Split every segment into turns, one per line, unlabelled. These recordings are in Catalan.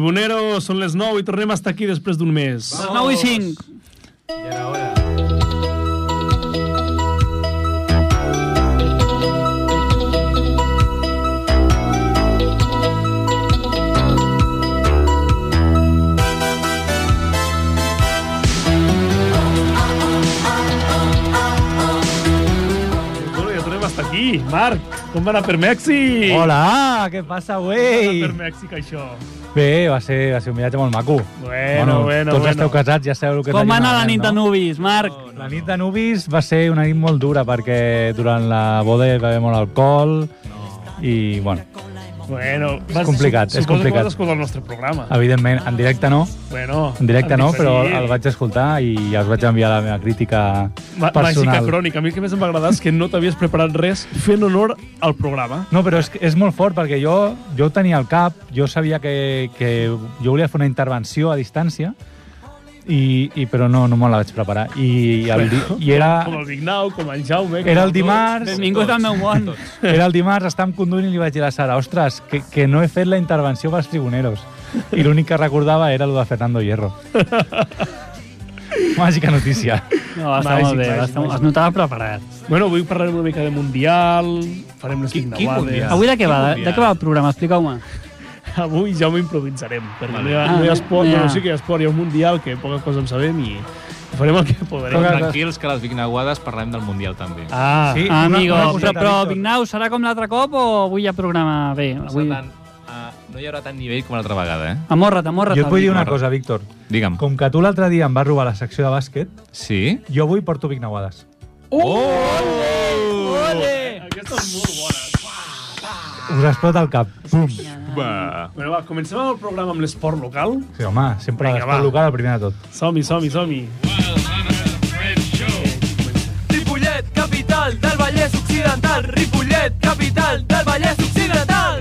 Tribunero, són les 9 i tornem a estar aquí després d'un mes.
Les 9 i 5.
Ja era hora. Bueno, ja tornem a estar aquí. Marc, com va anar per Mèxic?
Hola, Ah, què passa,
Com va anar
güey?
per Mèxic, això?
Bé, va ser, va ser un viatge molt maco.
Bueno, bueno,
tots
bueno.
esteu casats, ja sabeu el que és
Com va anar la nit
l'alliberament,
de
no?
nubis, Marc?
La nit de nubis va ser una nit molt dura perquè durant la boda hi va haver molt alcohol i, bueno,
Bueno,
És complicat,
suposo
és complicat.
que vas escoltar el nostre programa.
evidentment, en directe no,
Bueno,
en directe no, però
sí.
el vaig escoltar i ja us vaig enviar la meva crítica
Ma- Màgica
personal.
crònica. A mi el que més em va agradar és que no t'havies preparat res fent honor al programa.
No, però és, que és molt fort perquè jo, jo ho tenia al cap, jo sabia que, que jo volia fer una intervenció a distància, i, i però no, no me la vaig preparar. I, el, di- i era,
Com el Vignau, com el Jaume... com
era el
tots.
dimarts,
Benvingut al meu món.
era el dimarts, estàvem conduint i li vaig dir a la Sara, ostres, que, que no he fet la intervenció pels tribuneros. I l'únic que recordava era el de Fernando Hierro. Màgica notícia.
No, va estar
Màgic,
molt bé, va
màgic,
estar,
màgic.
es notava preparat.
Bueno, avui parlarem una mica de Mundial, farem les
Quin- quin
Vignauades...
Mundial?
Avui de què va? De,
Quin
de què va el programa? Explica-ho-me.
Avui ja ho improvisarem, perquè
Vale.
no, hi ha,
Ah,
no hi ha esport,
ja.
no, no sé que hi ha esport, hi ha un Mundial, que poca cosa en sabem i farem el que podrem.
Poca-
Tranquils, que a les Vignaguades parlem del Mundial, també.
Ah, sí.
una-
Amigo,
una
però,
coseta,
però
Víctor.
Vignau, serà com l'altre cop o avui hi ha programa bé? Avui...
Tant, uh, no hi haurà tant nivell com l'altra vegada, eh?
Amorra't, amorra't.
Jo et vull dir una
Marra.
cosa, Víctor.
Digue'm.
Com que tu l'altre dia em vas robar la secció de bàsquet,
Sí?
jo avui porto Vignauades.
Oh!
Eh, Aquesta és molt bona.
Us explota el cap. Pum. Sí,
Va.
Bueno, va, comencem el programa amb l'esport local.
home, sempre
Vinga, va.
l'esport local el primer de tot.
Som-hi, som-hi, som-hi.
Ripollet, capital del Vallès Occidental. Ripollet, capital del Vallès Occidental.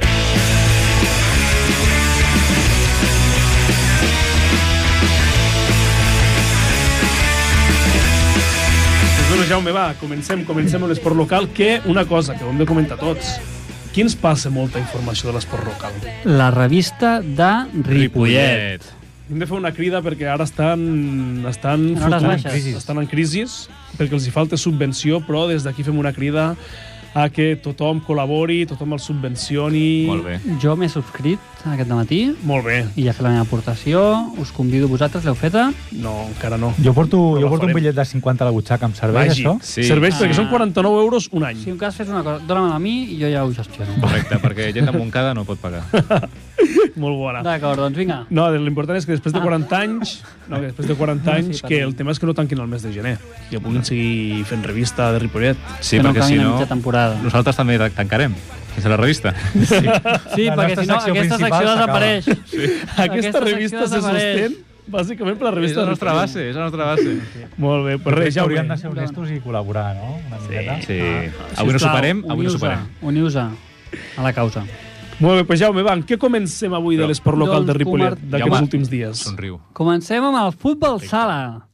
Doncs bueno, Jaume, va, comencem, comencem amb l'esport local, que una cosa que ho hem de comentar tots. Qui ens passa molta informació de l'esport local?
La revista de Ripollet.
Ripollet.
Hem de fer una crida perquè ara estan, estan,
En hores
fotuts,
baixes.
estan en crisi, perquè els hi falta subvenció, però des d'aquí fem una crida a que tothom col·labori, tothom el subvencioni.
Molt bé.
Jo m'he subscrit aquest matí
Molt bé.
i ja he fet la meva aportació. Us convido vosaltres, l'heu feta?
No, encara no.
Jo porto,
la
jo porto
farem.
un bitllet de 50 a la butxaca, em serveix
Vagi.
això?
Sí.
Serveix
Ah.
perquè són 49 euros un any.
Si en cas fes una cosa, dóna-me-la a mi i jo ja ho gestiono.
Correcte, perquè gent de Montcada no pot pagar.
Molt bona.
D'acord, doncs vinga.
No, l'important és que després de 40 anys, no, que després de 40
Ah, sí,
anys, que
perdó.
el tema és que no tanquin el mes de gener, que puguin seguir fent revista de Ripollet.
Sí,
que no
perquè si
acabi la
no,
mitja temporada.
nosaltres també tancarem. Sense la revista.
Sí,
La
perquè
nostra
si no
secció
aquesta
principal
secció
s'acaba.
desapareix. Sí.
Aquesta revista se sostén bàsicament per la
És
revista
la
de
nostra
Ripollet.
base, és la nostra base.
Molt bé, però
Crec
res,
que hauríem
Jaume.
de ser honestos i col·laborar, no? Una miqueta.
Sí. Avui no superem, avui no superem.
Uniu-se a la causa.
Molt bé, pues Jaume, va, amb què comencem avui de
Però-
l'esport local
Doncs,
de Ripollet
Comar-
d'aquests
Jaume,
últims dies?
Somriu.
Comencem amb el futbol sala.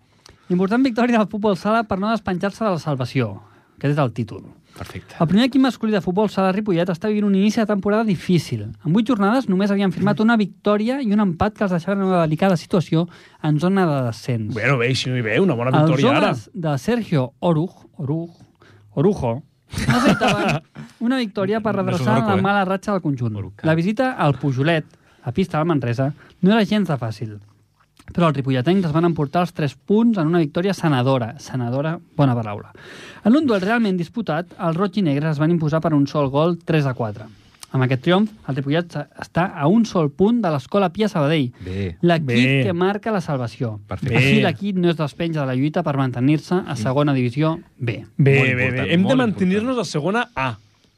Important victòria del futbol sala per no despenjar-se de la salvació. Aquest és el títol.
Perfecte.
El primer equip masculí de futbol sala Ripollet està vivint un inici de temporada difícil. En vuit jornades només havien firmat una victòria i un empat que els deixaven en una delicada situació en zona de descens.
Bueno, bé, així hi ve, una bona
Els
victòria ara.
homes de Sergio Oruj, Oruj, Orujo necessitaven una victòria per
No és un
redreçar
orco,
la
eh?
mala ratxa del conjunt.
Oruca.
La visita al Pujolet, a pista del Manresa, no era gens de fàcil. Però els ripolletens es van emportar els 3 punts en una victòria sanadora. Sanadora, bona paraula. En un duel realment disputat, els roig i negres es van imposar per un sol gol 3 a 4. Amb aquest triomf, el Ripollet està a un sol punt de l'escola Pia Sabadell,
Bé.
Bé.
L'equip que marca la salvació.
Perfecte.
Així
Bé.
l'equip no es despenja de la lluita per mantenir-se
Mm.
a segona divisió B.
Bé,
Molt
bé, bé.
important,
Hem de
molt
mantenir-nos a segona A.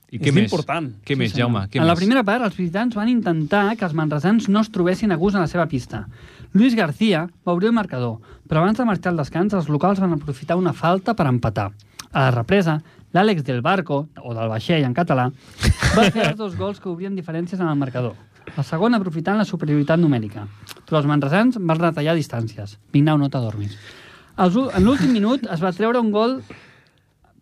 I
És
què més?
important.
Què més,
senyor.
Jaume? Què
en la
més?
primera part, els visitants van intentar que els manresans no es trobessin a gust a la seva pista. Luis García va obrir el marcador, però abans de marxar al descans, els locals van aprofitar una falta per empatar. A la represa, l'Àlex del Barco, o del vaixell en català, va fer els dos gols que obrien diferències en el marcador. El segon aprofitant la superioritat numèrica. Però els manresans van retallar distàncies. Vignau, no t'adormis. Els u- En l'últim minut es va treure un gol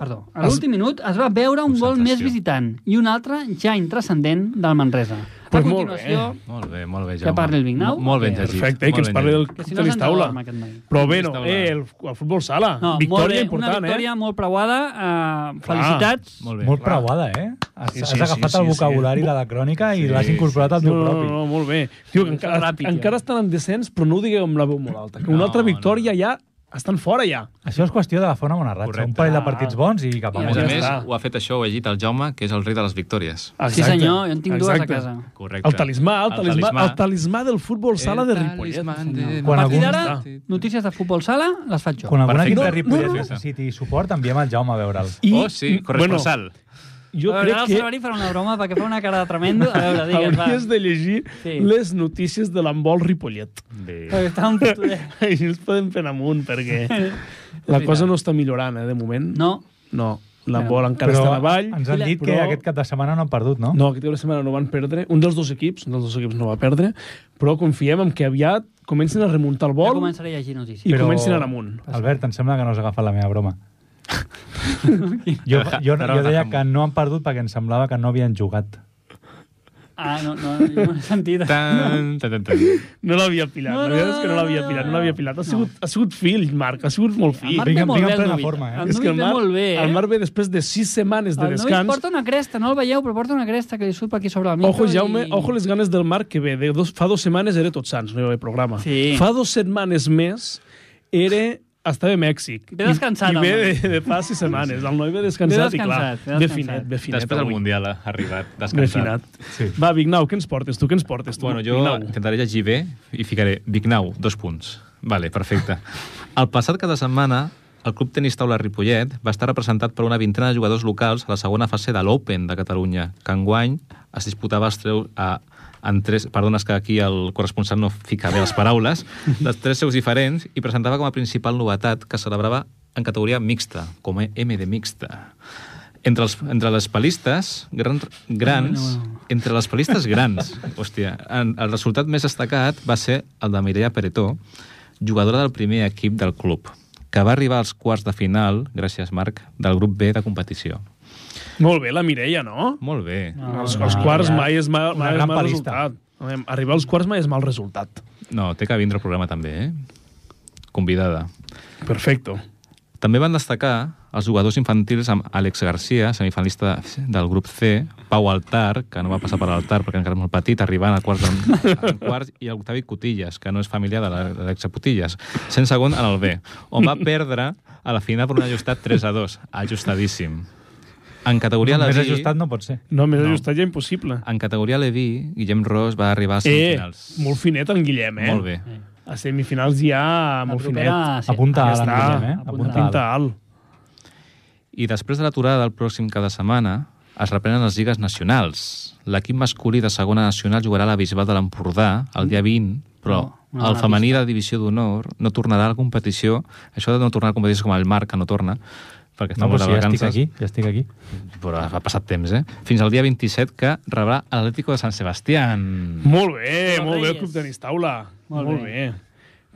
Perdó. A l'últim minut es va veure un gol més
Concentració.
visitant i un altre ja intrascendent del Manresa. Pues
Pues
a
molt
continuació,
Molt bé, molt bé,
Que
Jaume.
parli el Vignau?
Mo- Molt ben
Bé,
llegit.
Perfecte, i que
molt
ens
ben
parli del
llegit.
Que si no
tenis
se'ns
taula.
adorm aquest noi.
Però bé, no,
Tenistaula.
eh, el, el futbol sala.
No, molt bé,
victòria
una
important,
victòria
eh?
molt preuada. Eh, felicitats.
Molt bé.
Molt
clar.
preuada, eh? Has,
Sí,
sí,
sí,
sí, has agafat
sí,
el
sí, sí.
vocabulari de la crònica i
Sí,
l'has incorporat al
No,
teu
no,
propi.
no, no, molt bé. Tio, que encara,
Ràpid, ja.
encara estan en descens, però no ho digueu amb la veu molt alta. Que una
No,
altra victòria ja... Estan fora, ja.
Això és qüestió de la fona bona ratxa.
Correcte.
Un parell de partits bons i cap
A
Ja
més
amunt.
a
està.
més, ho ha fet això, ho ha llegit el Jaume, que és el rei de les victòries.
Sí, senyor, jo en tinc dues a
Exacte.
casa.
Correcte.
El talismà, el, talismà, el talismà del futbol sala de eh, Ripollet.
Quan
A partir
algun-
d'ara, notícies de futbol sala les faig jo.
Quan algun equip
Perfecte.
de Ripollet
No, no, no.
necessiti suport, enviem el Jaume a veure'l.
I,
Oh, sí, corresponsal.
Jo
Ara
crec
el
que
Sabadell farà una broma perquè fa una cara de tremendo. A veure, digues, va.
hauries de llegir
Sí.
les notícies de l'embol Ripollet.
Bé.
eh,
Perquè Està un putoder.
Així ens podem fer amunt, perquè la cosa no està millorant, eh, de moment.
No,
No, l'embol encara està a la vall.
ens han dit que
però-
aquest cap de setmana no han perdut, no?
No, aquest cap de setmana no van perdre. Un dels dos equips, un dels dos equips no va perdre, però confiem en que aviat comencin a remuntar el
ja
vol i
començaré a llegir notícies.
Però-
comencin a anar amunt.
Albert, em sembla que no has agafat la meva broma. jo, jo,
Ara
jo deia
agafa'm.
que no han perdut perquè em semblava que no havien jugat.
Ah, no, no, no m'he sentit.
Tan, tan, tan, tan.
No l'havia pilat,
No,
no,
no,
la veritat és que no l'havia
no,
pilat, no
no.
l'havia pilat. Ha sigut, ha sigut fill, Marc, ha sigut molt
El
fill.
Marc
Vinga-
ve molt
vinga
bé,
en
el
plena
Nubi.
forma, eh?
El
és
Nubi
que el
ve
Marc,
molt bé, eh? Ah,
el Marc ve després de sis setmanes de
El Nubi
descans.
porta una cresta, no el veieu, però porta una cresta que li surt per aquí sobre el micro.
Ojo, Jaume,
i...
ojo les ganes del Marc que ve. De dos, fa dos setmanes era Tots Sants, no hi va haver programa.
Sí.
Fa dos setmanes més era estava a Mèxic.
Ve descansat,
I, i ve
home.
de, de fa sis setmanes. El noi ve descansat,
Ve
i clar,
descansat, ve
ve finet, ve finet.
Després del
avui.
Mundial ha arribat,
Ve
descansat.
finet.
Sí.
Va, Vignau, què ens portes tu? Què ens portes tu?
Bueno, jo
Vignau.
intentaré llegir bé i ficaré Vignau, dos punts. Vale, perfecte. El passat cada setmana, el Club Tenis Taula Ripollet va estar representat per una vintena de jugadors locals a la segona fase de l'Open de Catalunya, que enguany es disputava els treu, a, en tres... Perdona, és que aquí el corresponsal no fica bé les paraules. dels tres seus diferents i presentava com a principal novetat que celebrava en categoria mixta, com a M de mixta. Entre els, entre les palistes gran, grans,
No, no.
entre les palistes grans, hòstia, en, el resultat més destacat va ser el de Mireia Peretó, jugadora del primer equip del club, que va arribar als quarts de final, gràcies Marc, del grup B de competició.
Molt bé, la Mireia, no?
Molt bé. No,
Els, els quarts
ja.
mai és mal,
Una
mai és
gran
mal
palista.
resultat. Home, Arribar als quarts mai és mal resultat.
no té que vindre el programa també, eh? Convidada.
Perfecto.
També van destacar els jugadors infantils amb Àlex Garcia, semifinalista del grup C, Pau Altar, que no va passar per l'Altar perquè encara és molt petit, arribant a quarts, de, a quarts i Octavi Cotillas, que no és familiar de la- de l'exapotillas, sent segon en el B, on va perdre a la final per un ajustat 3 a 2, ajustadíssim. En categoria
Més
Levi,
ajustat no pot ser.
No, més no. ajustat ja impossible.
en categoria Levi, Guillem Ros va arribar a
Eh,
semifinals.
molt finet en Guillem, eh?
Molt bé.
A semifinals ja,
La
molt
propera,
finet.
sí.
Apunta
Ja
a
està.
l'Enguillem, eh?
Apunta
Apunta a
Pinta alt.
I després de l'aturada del pròxim cap de setmana, es reprenen les lligues nacionals. L'equip masculí de segona nacional jugarà a la Bisbal de l'Empordà el dia 20, però
No, no,
el
la
femení de divisió d'honor no tornarà a la competició. Això de no tornar a la competició és com el Marc, que no torna, perquè està
No,
no,
però
de
si ja estic
vacances.
aquí, ja estic aquí.
Però ha passat temps, eh? Fins al dia 27, que rebrà l'Atlético de Sant Sebastián.
Molt bé,
Però
molt bé,
Reyes.
el Club Tenis Taula.
Molt
Molt,
bé.
molt bé.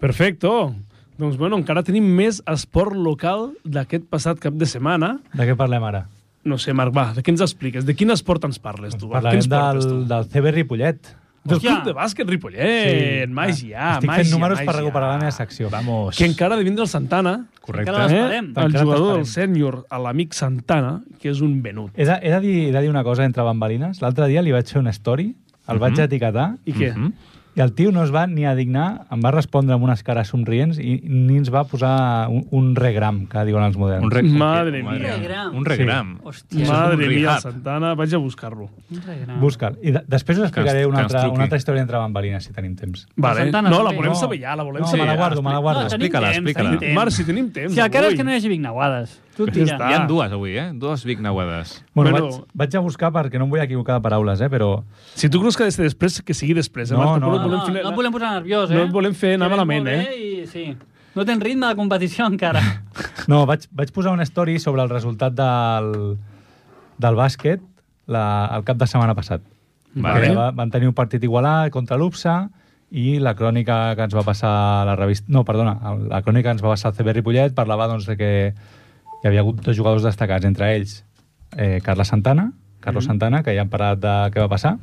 Perfecto. Doncs, bueno, encara tenim més esport local d'aquest passat cap de setmana.
De què parlem ara?
No sé, Marc, va, de què ens expliques? De quin esport ens parles, tu? va? Què
Parlarem
ens
del,
portes, tu?
del CB Ripollet.
Del
Hòstia.
Club de Bàsquet Ripollet. Sí. Màgia,
Ah, Estic
màgia,
fent números
màgia.
per recuperar la meva secció. Vamos.
Que encara ha de vindre el Santana,
Correcte.
Encara
eh?
l'esperem.
el
Encara
jugador del
t'esperem.
sènior, a l'amic Santana, que és un venut.
He de, he, de dir, he de dir una cosa entre bambalines. L'altre dia li vaig fer una story, el vaig etiquetar,
I què?
Mhm.
i el tio no es va ni a dignar, em va respondre amb unes cares somrients i ni ens va posar un, un regram, que diuen els moderns.
Un reg...
Madre
un-
mía.
un-
Un regram.
Un regram.
Hòstia.
Això és un
Madre mia,
rehab.
el Santana, vaig a buscar-lo.
Un regram.
Busca'l. I de, després us explicaré
ens- que
una
ens
altra,
truqui.
una altra història entre bambalines, si tenim temps.
Vale.
Santana
No, la
també.
volem
No.
saber ja, la volem
No,
saber
me la
ja.
guardo, me la guardo.
tenim
Explica-la,
temps,
explica-la.
tenim temps.
Marc, si tenim temps
Si el cara és
avui.
que no hi hagi vignauades. Tu tira.
està.
Hi ha
Ah.
dues avui, eh? Dues Vic Nauades.
Bueno,
Bueno.
vaig, vaig a buscar perquè no em vull equivocar de paraules, eh, però...
Si tu creus que ha de ser després, que sigui després. Eh,
No,
Marc,
no,
tampoc
No, no,
fer-
no et volem posar nerviós, eh?
No et volem fer anar
Que ve
malament,
molt bé I, sí. No tens ritme de competició encara.
No, vaig, vaig posar una story sobre el resultat del, del bàsquet la, el cap de setmana passat.
Vale.
Perquè Va, van tenir un partit igualat contra l'UPSA i la crònica que ens va passar la revista... No, perdona, el- la crònica que ens va passar el CB Ripollet parlava doncs, de que hi havia hagut dos jugadors destacats, entre ells eh, Carles Santana, Carlos Santana, que ja han parlat de què va passar,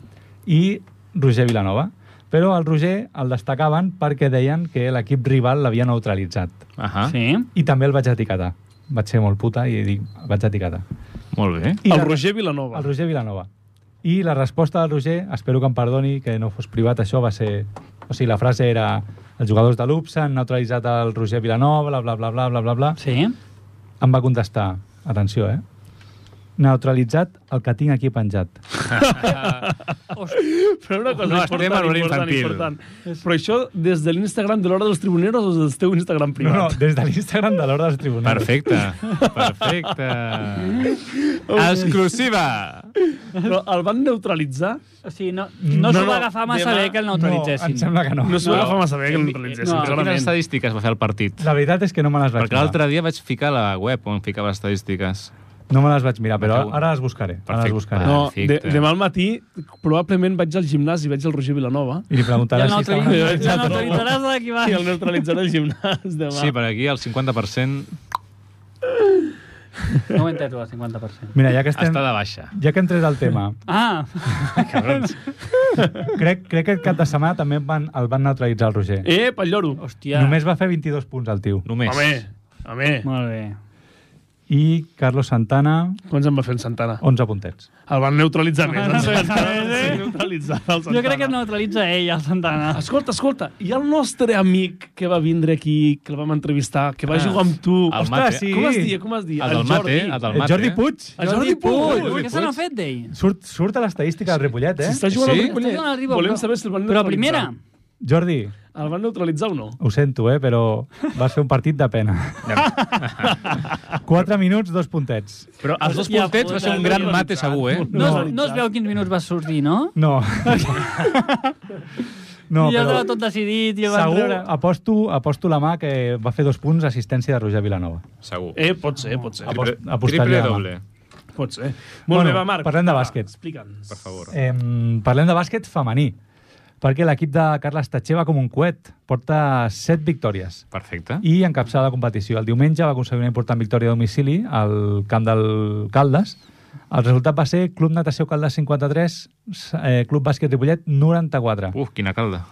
i Roger Vilanova. Però el Roger el destacaven perquè deien que l'equip rival l'havia neutralitzat.
Ahà, sí.
Sí.
I també el vaig etiquetar. Vaig ser molt puta i dic, el vaig etiquetar.
molt bé.
I
El
la-
Roger Vilanova.
El Roger Vilanova. I la resposta del Roger, espero que em perdoni, que no fos privat, això va ser... O sigui, la frase era els jugadors de l'UPSA han neutralitzat el Roger Vilanova, bla, bla, bla, bla, bla, bla, bla.
Sí.
Em va contestar, atenció, eh? Neutralitzat el que tinc aquí penjat.
Però una cosa
No,
important,
estem en hora
important,
infantil.
important. Però això des de l'Instagram de l'Hora dels Tribuneros o des del teu Instagram
No, no,
privat?
des de l'Instagram de l'Hora dels Tribunals.
Perfecte, perfecte. Exclusiva!
Però el van neutralitzar?
O sigui, no, no, no s'ho va agafar massa
demà-
bé que el
No,
neutralitzessin.
em sembla que no.
No s'ho
No.
va agafar massa bé que el neutralitzessin,
No.
Quines
clarament.
estadístiques va fer el partit?
La veritat és que no me les vaig
Perquè l'altre dia vaig ficar a la web on ficava les estadístiques.
mirar. No me les vaig mirar, però
Mateu.
ara les buscaré. Ara les
Perfecte.
buscaré.
No, de,
Perfecte.
demà al matí probablement vaig al gimnàs i veig el Roger Vilanova
I li
Ja
preguntaràs
no
si estava...
neutralitza.
autoritzaràs ja no autoritzaràs a qui va.
i el neutralitzaré al gimnàs demà.
Sí, per aquí el 50%
No ho he entès, el 50%.
Mira, ja que, estem,
està de baixa.
ja que hem tret el tema,
Ah,
Cabrons.
crec, crec que aquest cap de setmana també van, el van neutralitzar el Roger.
Eh, pel lloro.
hòstia.
Ja. Només va fer 22 punts el tio.
Només.
Home, home.
Molt bé.
I Carlos Santana,
Quants en va fer el Santana?
11 puntets.
El van neutralitzar més.
El van
El Santana.
neutralitzar més, eh?
Sí, neutralitzar el Santana.
Jo crec que neutralitza ell, el Santana.
Escolta, escolta, i el nostre amic que va vindre aquí, que el vam entrevistar, que va
Ah,
jugar amb tu...
el
Ostres,
Mate.
Com es deia, com es deia?
El del mate,
Jordi.
el del
El
mate.
Eh,
eh?
Jordi Puig.
El Jordi Puig.
Jordi
Què se n'ha
Puig.
fet d'ell?
Surt, surt a l'estadística del Ripollet, eh?
S'està jugant al
Sí?
Ripollet.
Està jugant al Ripollet,
Volem
però-
saber si el van
Però
neutralitzar.
primera,
Jordi,
El van neutralitzar o no?
ho sento, eh, però va ser un partit de pena. 4 minuts, dos puntets.
Però els dos
Hòstia
puntets va ser un
puta,
gran
no
mate segur, eh?
no,
No.
es, no es veu quins minuts va sortir, no?
No. no,
I ja
però
estava tot decidit i el van
segur, Ah,
treure.
aposto, aposto la mà que va fer dos punts assistència de Roger Vilanova.
Segur.
Eh, pot ser, pot ser.
Apost-
Triple-
apostaria
triple
demà.
doble.
Pot ser. Molt
Bueno,
bé, va, Marc.
parlem de
Va,
bàsquet.
Explica'ns.
Per favor.
Eh, parlem de bàsquet femení, perquè l'equip de Carles Tatxer va com un coet. Porta 7 victòries.
Perfecte.
i encapçada la competició. El diumenge va aconseguir una important victòria a domicili al camp del Caldes. El resultat va ser Club Natació Caldes 53, eh, Club Bàsquet Ripollet 94.
Uf, quina calda.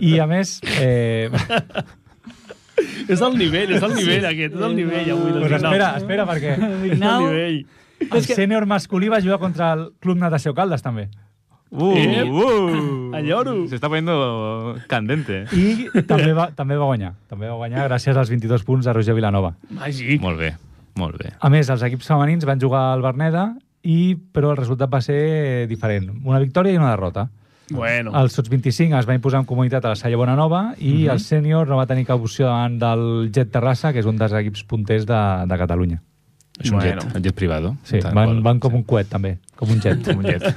I a més, eh,
És el nivell, és el nivell aquest, és el nivell avui. del
pues
final.
espera, espera, perquè
És el
Nau.
nivell.
el sènior masculí va jugar contra el Club Natació Caldes també.
Uh,
Eh?
uh.
A lloro.
Se está poniendo candente.
I també va, també va guanyar. També va guanyar gràcies als 22 punts de Roger Vilanova.
Màgic.
Molt bé, molt bé.
A més, els equips femenins van jugar al Berneda i però el resultat va ser diferent. Una victòria i una derrota.
Bueno.
El Sots 25 es va imposar en comunitat a la Salla Bonanova i
Mhm.
el sènior no va tenir cap opció davant del Jet Terrassa, que és un dels equips punters de, de Catalunya.
És un
Bueno.
jet, el jet privado.
Sí,
Tal
van,
qual.
van com un coet, també, com un jet.
Com un jet.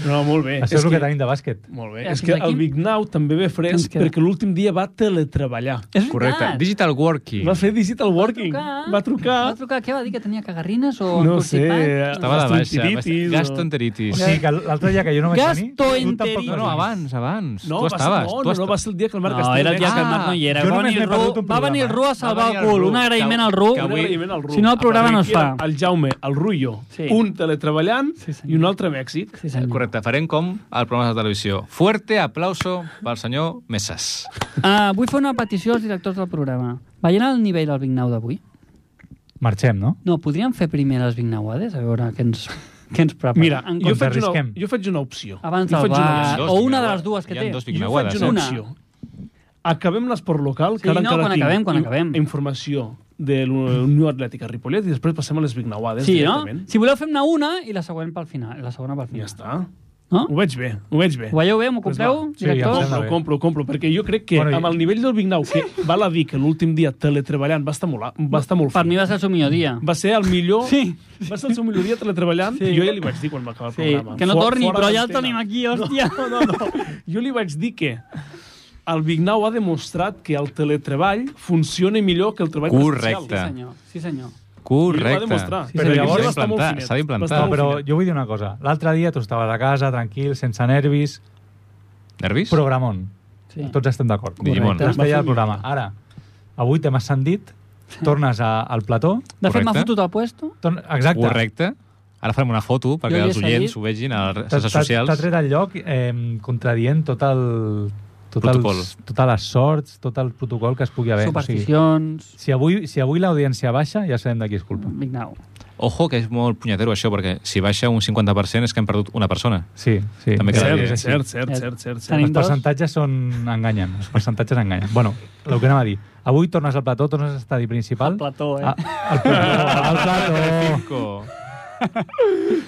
No, molt bé.
Això és el que tenim de bàsquet.
Molt bé.
Ja,
És
fins
que
aquí.
el Big Now també ve
Ens
fresc
queda.
perquè l'últim dia va teletreballar.
És veritat.
Correcte. Digital working.
Va fer digital working. Va trucar.
Va trucar. Què va dir? Que tenia cagarrines o
No sé.
constipat?
Estava de baixa. va
gastroenteritis o-
ser-
O
Gastroenteritis.
sigui que l'altre dia que jo no vaig venir... tu
Gastroenteritis.
tampoc
No,
vas
no,
venir.
abans, abans.
No,
tu
va
estaves.
ser,
tu
no, no, no,
estaves-
va ser el dia que el Marc
No,
Castell...
era el dia
Ah,
que el Marc no hi era.
jo
Va
només
venir,
m'he
el Ru,
perdut un
va venir el Ru a salvar
Va
el
venir el
cul.
Ru,
Un
que-
agraïment al Ru.
que
Un
avui-
agraïment al Ru.
Si no, el programa no es fa.
El Jaume, el Rullo,
Sí.
un teletreballant
Sí, senyor.
i un altre a Mèxic.
Sí, senyor.
Eh, Correcte, farem com al programa de televisió. Fuerte aplauso pel senyor Mesas.
Ah, vull fer una petició als directors del programa. Veient el nivell del Big Now d'avui,
Marxem, no?
no, podríem fer primer les Big Nowades, a veure què ens, què ens prepara.
Mira,
En
jo
compte,
faig, una,
arrisquem.
jo faig una opció.
Abans
jo
del
faig
bar,
una opció.
o
Hi ha
una
dos
de les dues que
Hi ha
té.
Jo
dos
faig
Vignaguades,
una
eh?
Una.
opció. Acabem l'esport local, que
Sí,
ara
no,
encara
quan
tinc
acabem, quan
in-
acabem.
informació de l'Unió Atlètica Ripollet i després passem a les Vignauades
Sí, no?
directament.
Si voleu, fem-ne una i la següent pel final. La segona pel
Ja
final.
està.
No?
Ho veig bé, ho veig bé.
Ho veieu bé? M'ho
Pues
compreu,
va.
Sí, ja em
directors?
Compro,
sembla bé.
compro, compro, perquè jo crec que
Bueno, i-
amb el nivell del Vignau, que val a dir que l'últim dia teletreballant va estar molt, va estar molt
per
fi.
mi va ser el seu millor dia.
va ser el millor...
Sí.
Va ser el seu millor dia teletreballant
Sí.
i jo ja li vaig dir quan va acabar el
Sí,
programa.
que no
Fo-
torni,
fora
però ja el
d'antena.
tenim aquí, hòstia.
No, no, no. Jo li vaig dir que el Vignau ha demostrat que el teletreball funciona millor que el treball
Correcte.
Sí,
presencial.
senyor. Sí, senyor.
I ho va
Correcte.
demostrar.
Sí, Però senyor. llavors-
S'ha d'implantar,
S'ha d'implantar.
Bastant
No, però
molt
jo vull dir una cosa. L'altre dia tu estaves a casa, tranquil, sense nervis,
Nervis?
programon.
Sí.
Tots estem d'acord.
Digimon.
Correcte. Vas tallar el programa. Ara, avui t'hem ascendit, tornes a, al plató...
De fet, m'ha
Correcte.
fotut al puesto.
Torn... Exacte.
Correcte. Ara farem una foto perquè
Jo li he
els oients
seguit.
ho vegin a les
T'ha-
xarxes
t'ha-
socials.
T'ha tret el lloc eh, contradient tot el... Tot
Protocol.
els, totes les sorts, tot el protocol que es pugui haver. O sigui,
Supersticions...
si avui, si avui l'audiència baixa, ja sabem de qui és culpa.
Vignau.
Ojo, que és molt punyetero això, perquè si baixa un 50% és que hem perdut una persona.
Sí, sí.
També
Els
Cert,
cada dia.
cert, cert, cert, cert, cert,
Eh, Tenim-
cert.
dos.
percentatges són... enganyen. Els percentatges enganyen. Bueno, el que anava a dir. Avui tornes al plató, tornes a l'estadi principal.
Al plató, eh?
Ah, al plató, al plató.
Cinco.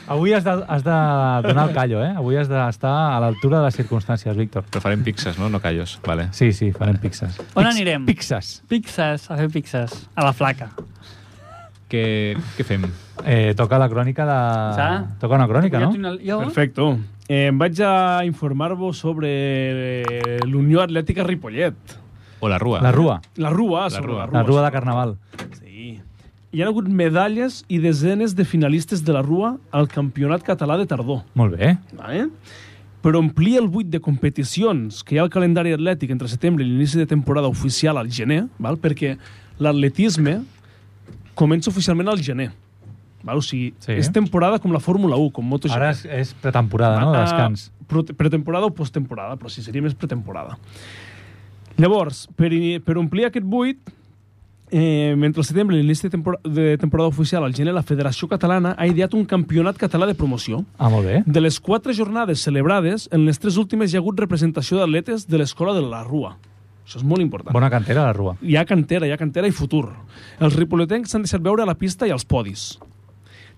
Avui has de, has de donar el callo, eh? Avui has d'estar a l'altura de les circumstàncies, Víctor.
Però farem pixes, no? No callos. Vale.
Sí, sí, farem pixes.
On anirem?
Pixes.
Pixes, a fer pixes. A la flaca.
Què, què fem?
Eh, toca la crònica de...
Ja?
Toca una crònica,
Jo
no?
tinc una- Jo?
Perfecto. Eh, em vaig a informar-vos sobre eh, l'Unió Atlètica Ripollet.
O la rua.
La rua.
La Rua, sobre
Rua.
la Rua.
La rua de Carnaval.
Sí. Hi ha hagut medalles i desenes de finalistes de la Rua al Campionat Català de Tardor.
Molt bé.
Vale? Per omplir el buit de competicions que hi ha al calendari atlètic entre setembre i l'inici de temporada oficial al gener, val? perquè l'atletisme comença oficialment al gener. Val? O sigui, sí.
Sí.
és temporada com la Fórmula 1, com MotoGP.
Ara és, és pretemporada, no? De descans.
Ah, pro- Pretemporada o posttemporada, però si seria més pretemporada. Llavors, per, ini- per omplir aquest buit, eh, mentre el setembre i l'inici de, tempor de temporada oficial al gener, la Federació Catalana ha ideat un campionat català de promoció.
Ah, molt bé.
De les quatre jornades celebrades, en les tres últimes hi ha hagut representació d'atletes de l'escola de la Rua. Això és molt important.
Bona cantera, la rua.
Hi ha cantera, hi ha cantera i futur. Els ripoletencs s'han deixat veure a la pista i als podis.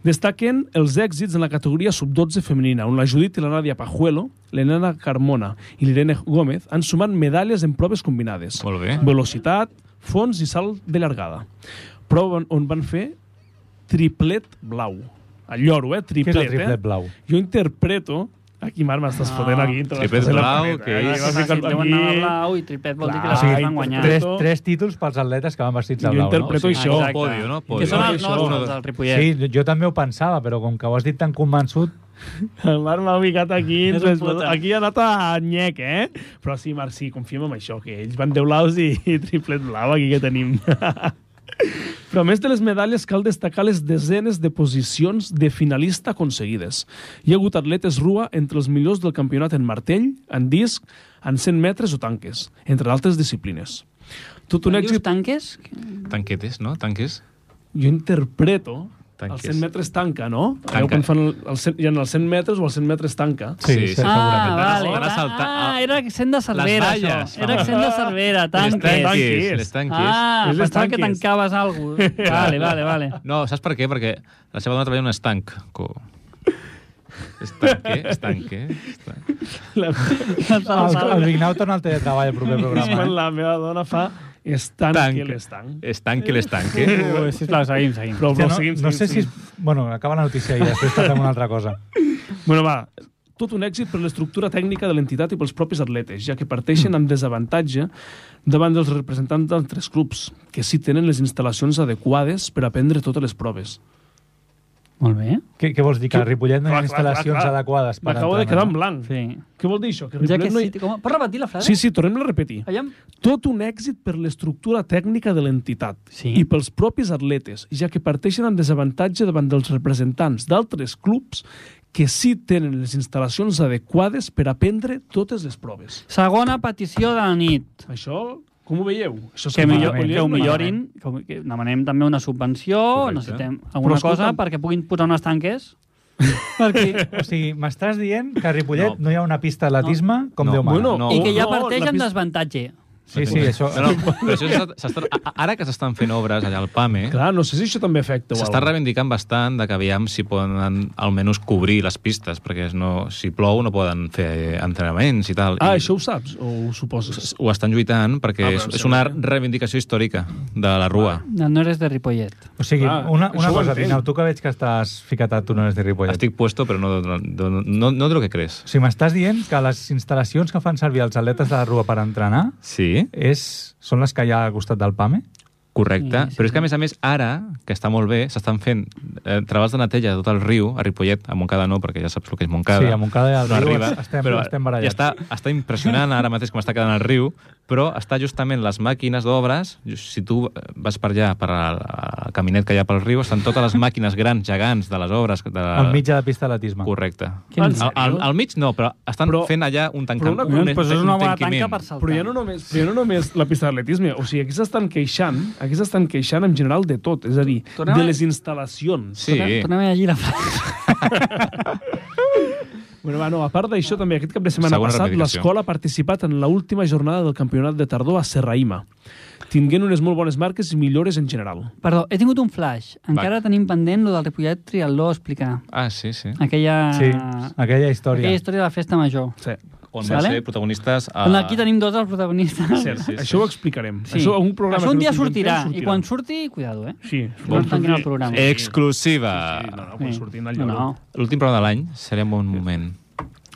Destaquen els èxits en la categoria sub-12 femenina, on la Judit i la Nàdia Pajuelo, l'Enana Carmona i l'Irene Gómez han sumat medalles en proves combinades.
Molt bé.
Velocitat, fons i salt de llargada. Prova on- on van fer triplet blau. Al lloro, eh?
Què és
Triplet,
el
eh?
triplet blau?
Jo interpreto... Aquí, Marc, m'estàs
Ah.
fotent aquí. te l'estàs
Triplet
fotent
blau,
la
que
planeta,
és-
eh? Vas
Sí,
ficar-te
deuen
aquí.
anar de blau i triplet vol dir que
Clar,
les
i
altres Ah, van guanyar.
tres-
Tres, tres títols pels atletes que van vestits de
Jo
blau, no?
interpreto
O
no?
sigui,
això.
un pòdio, no? Pòdio.
Que són els
Això.
nostres, del Ripollet.
Sí, jo- jo també ho pensava, però com que ho has dit tan convençut,
El Marc m'ha ubicat aquí.
És un
Tres,
puta.
aquí ha anat a nyec, eh? Però sí, Marc, sí, confiem en això, que ells van deu blaus i, i triplet blau aquí que tenim. Però a més de les medalles, cal destacar les desenes de posicions de finalista aconseguides. Hi ha hagut atletes rua entre els millors del campionat en martell, en disc, en 100 metres o tanques, entre d'altres disciplines. Tot un
Quan dius
èxit...
tanques?
Tanquetes, no? Tanques.
Jo interpreto...
Tanques.
Els 100 metres tanca, no?
Tanca.
Allò Quan fan el, el 100, hi ha els 100 metres o els 100 metres tanca.
Sí, sí,
Ah,
segurament.
vale.
Van assaltar-
Ah, era accent de Cervera,
Les
això.
valles.
Era accent de Cervera,
Les
tanques.
tanques.
Tanques.
Les tanques.
Ah,
És les
pensava que
tanques.
tancaves alguna cosa. Vale, vale, vale.
No, saps per què? Perquè la seva dona treballa en un estanc. Co... Estanque, estanque. estanque.
La,
Ah,
El, el Vignau torna al teletreball al proper programa. eh?
quan la meva dona fa estanc i l'estanc.
Estanque, l'estanque.
Eh,
Ui, sisplau, seguim, seguim.
Però,
Hòstia,
però
no,
seguim,
no
seguim,
sé si...
seguim.
És... Bueno, acaba la notícia i després tractem una altra cosa.
Bueno, va, tot un èxit per l'estructura tècnica de l'entitat i pels propis atletes, ja que parteixen amb desavantatge davant dels representants d'altres clubs, que sí tenen les instal·lacions adequades per aprendre totes les proves.
Molt bé.
Què, què vols dir? Que a Ripollet no hi ha
Clar, clar,
instal·lacions
clar, clar.
adequades per
M'acabo de
entrenar?
quedar en blanc. Sí.
Sí.
Què vol dir això? Que
Ja que
Ripollet no
sí,
hi-
com... Pots repetir la frase?
Sí, sí, tornem-la a repetir.
Aviam.
Tot un èxit per l'estructura tècnica de l'entitat
Sí.
i pels propis atletes, ja que parteixen en desavantatge davant dels representants d'altres clubs que sí tenen les instal·lacions adequades per aprendre totes les proves.
Segona petició de la nit.
Això, com ho veieu? Això és
Que, millor,
malament.
que ho millorin, que, ho- que demanem també una subvenció,
Correcte.
necessitem alguna
escolta'm-
cosa perquè puguin posar unes tanques. perquè...
O sigui, m'estàs dient que a Ripollet
No.
no, hi ha una pista d'atletisme com
No.
Déu mana.
Bueno,
No.
I que ja
no,
parteix
la
amb
pista-
desavantatge.
Sí, sí, això...
No, no, però això s'està- s'està- a- ara que s'estan fent obres allà al PAME,
Clar, no sé si això també afecta. o
s'està
alguna cosa.
reivindicant bastant de que aviam si poden almenys cobrir les pistes, perquè no, si plou no poden fer entrenaments i tal.
Ah,
I
això ho saps? O ho suposes?
ho estan lluitant perquè
Ah, però
ah, és,
em
és una
sembla bé.
reivindicació històrica de la Rua.
No eres de Ripollet.
O sigui,
Clar,
una, una
això ho
cosa,
entenc.
Vignau, tu que veig que estàs ficat a túnels de Ripollet.
Estic puesto, però no, no, no, no, no del que crees.
O sigui, m'estàs dient que les instal·lacions que fan servir els atletes de la Rua per entrenar E?
Sí?
és, són les que hi ha al costat del PAME?
Correcte,
Sí, sí,
però és que a
sí.
més a més ara, que està molt bé, s'estan fent eh, treballs de neteja de tot el riu, a Ripollet, a Montcada no, perquè ja saps el que és Montcada.
Sí, a Montcada i al
no
riu
arriba,
estem-
però
estem barallats.
I està, està impressionant ara mateix com està quedant el riu, però està justament les màquines d'obres, si tu vas per allà, per al al caminet que hi ha pel riu, estan totes les màquines grans, gegants de les obres. De...
eh,
Enmig de la pista d'atletisme.
Correcte.
Què
Al,
dius?
al, al mig no, però estan
Però-
però, fent allà un tancament.
però una-
un,
pues
un
és
una bona
tanquiment.
tanca per saltar.
Però ja no només, però ja no només la pista d'atletisme, o sigui, aquí s'estan queixant, aquí s'estan queixant en general de tot, és a dir,
Tornem a-
de les instal·lacions.
Sí.
Tornem a llegir la frase.
Bueno, va, no, a part d'això, també aquest cap de setmana
Segona
passat,
reivindicació.
l'escola ha participat en l'última jornada del campionat de tardor a Serraïma, tinguent unes molt bones marques i millores en general.
Perdó, he tingut un flash. Encara tenim pendent lo del Ripollet Triatló a explicar.
Ah, sí, sí.
Aquella...
Sí, aquella història.
Aquella història de la festa major.
Sí.
On
Vale.
van ser protagonistes... eh, A...
Uh... Aquí tenim dos dels protagonistes.
Cert,
sí, sí.
Això ho explicarem. Això, un programa
Això un
que
dia
no tinguem
sortirà.
temps,
I quan surti, cuidado, eh?
Sí,
No ens tanquin el programa.
Exclusiva.
Sí, no, no, quan
Sí.
sortim al
No,
lloc.
no.
L'últim programa de l'any serà un bon moment.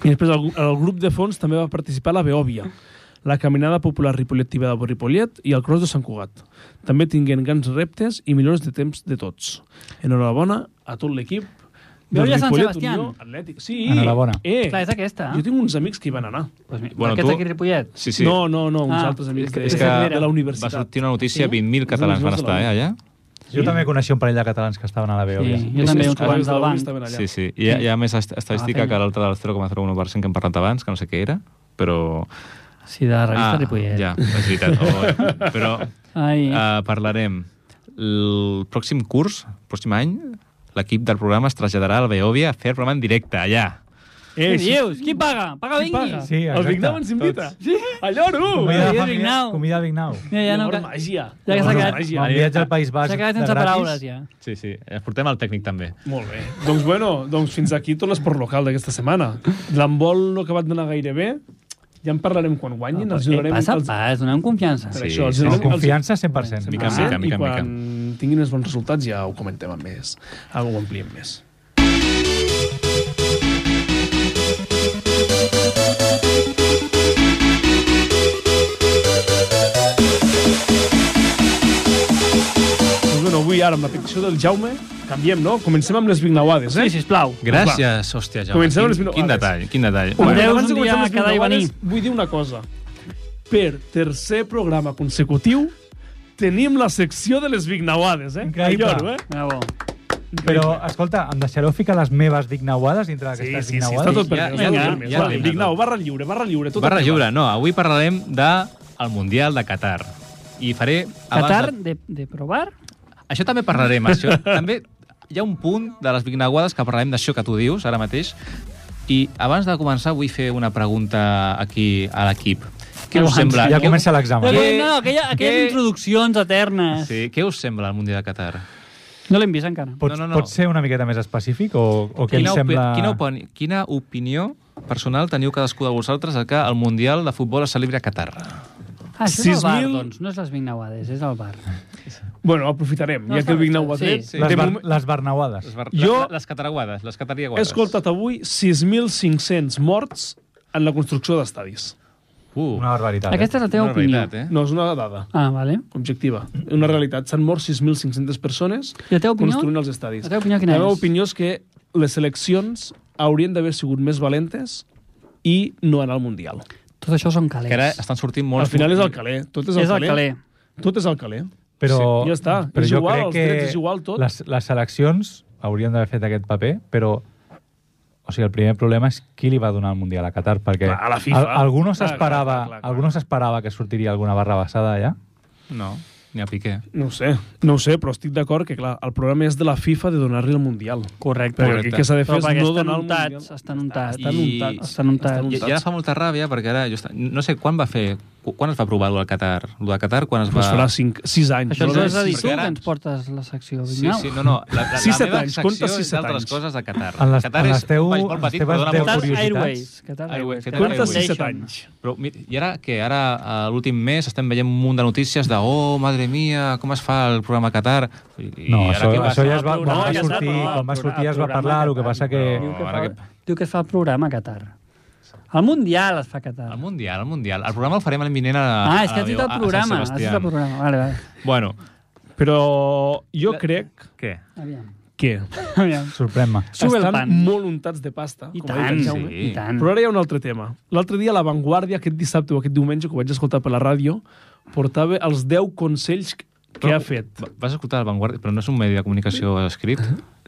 I després el, el grup de fons també va participar a la Beòvia, la caminada popular ripolletiva de Ripollet i el cross de Sant Cugat. També tinguent grans reptes i millors de temps de tots. Enhorabona a tot l'equip. del
Beòvia Sant
Ripollet
Sebastián.
Unió Atlètic. Sí.
Enhorabona.
Eh,
Clar, és aquesta.
jo tinc uns amics que hi van anar.
Pues, bueno,
Bueno,
aquest
tu-
d'aquí Ripollet.
Sí, sí.
No, no, no, uns
Ah,
altres amics de,
és que
de la
Va
universitat.
sortir una notícia,
Sí?
20.000 catalans van estar, eh, allà?
Jo també coneixia un parell de catalans que estaven a la
Sí,
Beòvia.
jo
És-
també
és-
uns quants del banc.
Sí, sí. Hi ha, hi ha més est-
Ah,
estadística
feina.
que l'altra del 0,01% que hem parlat abans, que no sé què era, però... Ah,
Sí, de la revista Ripollet.
ja, és veritat. Oh, però
Ai,
uh, parlarem. El pròxim curs, el pròxim any, l'equip del programa es traslladarà al Beòvia a fer el programa en directe, allà.
què
Eh, sí,
dius? Qui paga? Paga
Qui
vingui.
paga?
Sí,
el
exacte.
Big Down ens invita. Sí. Allò, no!
Comida de
Comida
família,
Vignau.
comida a Vignau.
Ja, ja no...
Llavors,
ca-
màgia.
Ja que s'ha
Llavors,
quedat-
màgia.
Bon viatge al País Basc.
S'ha quedat
de
sense
gratis.
paraules, ja.
Sí, sí. Eh, Portem el tècnic, també.
Molt bé. Doncs bueno, doncs fins aquí tot l'esport local d'aquesta setmana. L'embol no ha acabat d'anar gaire bé. Ja en parlarem quan guanyin. els
Eh,
donarem...
passa a
els...
pas, donem confiança.
Per
Sí,
això, els
sí,
donarem...
sí.
els-
Confiança 100%.
Mica en
Ah,
mica,
i
mica en
quan
mica.
tinguin els bons resultats ja ho comentem amb més. Ah, ho ampliem més. Doncs bueno, avui ara amb la petició del Jaume canviem, no? Comencem amb les vignauades, eh? Sí, sisplau.
Gràcies, hòstia, Jaume.
Comencem amb les
quin, quin
minutades.
detall, quin detall.
Un
Bueno,
Veus
abans de
un dia
començar amb les
quedar i
piulades,
venir.
Vull dir una cosa. Per tercer programa consecutiu tenim la secció de les vignauades, eh?
Increïble.
Allò, eh?
Bravo.
Però, escolta, em deixareu ficar les meves vignauades dintre
Sí,
d'aquestes
sí, sí,
vignauades?
està tot per
Ja-
ja,
ja
ja,
tenim,
ja
ja,
tenim.
Vignau, barra lliure, barra lliure. Tot
Barra
el
lliure, no. Avui parlarem de el Mundial de Qatar. I faré... abans
Qatar,
De...
de, de provar?
Això també parlarem, això. també hi ha un punt de les vignaguades que parlarem d'això que tu dius ara mateix. I abans de començar vull fer una pregunta aquí a l'equip. Què us
Abans,
sembla?
Ja
Què-
comença
No,
l'examen.
Què-
no, aquella, aquelles
què-
introduccions eternes.
Sí, què us sembla el Mundial de Qatar?
No l'hem vist encara.
Pots,
No, no, no.
pots ser una miqueta més específic o, o què em
Quina, opi...
sembla...
quina, opini... quina opinió personal teniu cadascú de vosaltres de que el Mundial de Futbol es celebra a Qatar?
Ah, això és el bar,
6.000
doncs. No és les Vignauades, és el bar.
Bueno, aprofitarem,
No,
ja que el
està bé,
Vignau ho ha
sí,
tret.
sí.
De
Les, bar,
moment
les Bernauades.
Les bar...
Jo-
Les cataraguades, les
He
cataraguades.
escoltat avui 6.500 morts en la construcció d'estadis.
Uh,
Una barbaritat. eh?
Aquesta és la teva
una
opinió.
realitat, eh?
No, és una dada
Ah, vale.
objectiva. Una realitat. S'han mort 6.500 persones
I la teva opinió?
construint els estadis.
La teva opinió quina
la meva
és?
opinió és que les seleccions haurien d'haver sigut més valentes i no anar al Mundial.
Tot això són calés.
que ara estan sortint molts...
al final és el caler. Tot és,
és
el
el
caler.
caler.
Tot és el caler.
Però,
Sí, ja està.
Però
És
jo
igual,
crec
els
que
drets és igual, tot.
Les, les seleccions haurien d'haver fet aquest paper, però o sigui, el primer problema és qui li va donar el Mundial a Qatar, perquè
Clar, a la FIFA.
algú no
Clar,
s'esperava
clar, clar, clar.
algú no s'esperava que sortiria alguna barra basada allà.
No, ni a Piqué.
No ho sé, no ho sé, però estic d'acord que, clar, el programa és de la FIFA de donar-li el Mundial.
Correcte.
Però el que s'ha de fer
Però
és
perquè
no
estan
donar el Mundial.
untats, estan untats.
Estan untats.
Estan untats.
I, I ara fa molta ràbia perquè ara... Jo està, no sé, quan va fer... cu- Quan es va provar el Qatar? El de Qatar, quan es va...
Pues farà 6 anys.
Això
no?
ens ho has de dir
perquè
tu,
ara-
que ens portes la secció.
Sí,
Vignau.
sí, no, no. La, la,
Sí, set
la meva
anys, compta
secció
sí,
és
set
d'altres
anys.
coses de Qatar.
En les-
Qatar
en
és
les teu-
país molt
en les
petit,
teves
perdona
deu
molt.
Qatar
curiositats.
Airways. Qatar
Airways,
Airways.
Qatar
Qatar
Compta
Airways.
6-7
Foundation.
anys.
Però mi- i ara que ara a l'últim mes estem veient un munt de notícies de oh, madre mia, com es fa el programa Qatar. I, i
No,
ara
això,
què
això
passa?
ja es va,
El
quan
programa
va
ja està,
sortir,
però
quan va
el
sortir ja es va
programa ja
parlar, el que
està,
passa que...
Diu que,
No,
fa,
ara
diu que es fa el programa a Qatar. El Mundial es fa a Qatar.
El Mundial, el Mundial. El programa el farem en imminent a...
Ah, és que
a-
has dit el
a- a Sant
programa. Has dit
Sebastià.
el programa. Vale, vale.
Bueno,
Però jo crec
Què?
Aviam.
que
Aviam.
Sorprèn-me.
Sube el
estan
pan.
molt untats de pasta.
I
com ha dit
tant,
en
sí.
Jaume.
i tant.
Però ara hi ha un altre tema. L'altre dia, a La Vanguardia, aquest dissabte o aquest diumenge, que ho vaig escoltar per la ràdio, portava els 10 consells que ha fet.
Va- Vas escoltar el Vanguardia, però no és un medi de comunicació escrit?
Eh?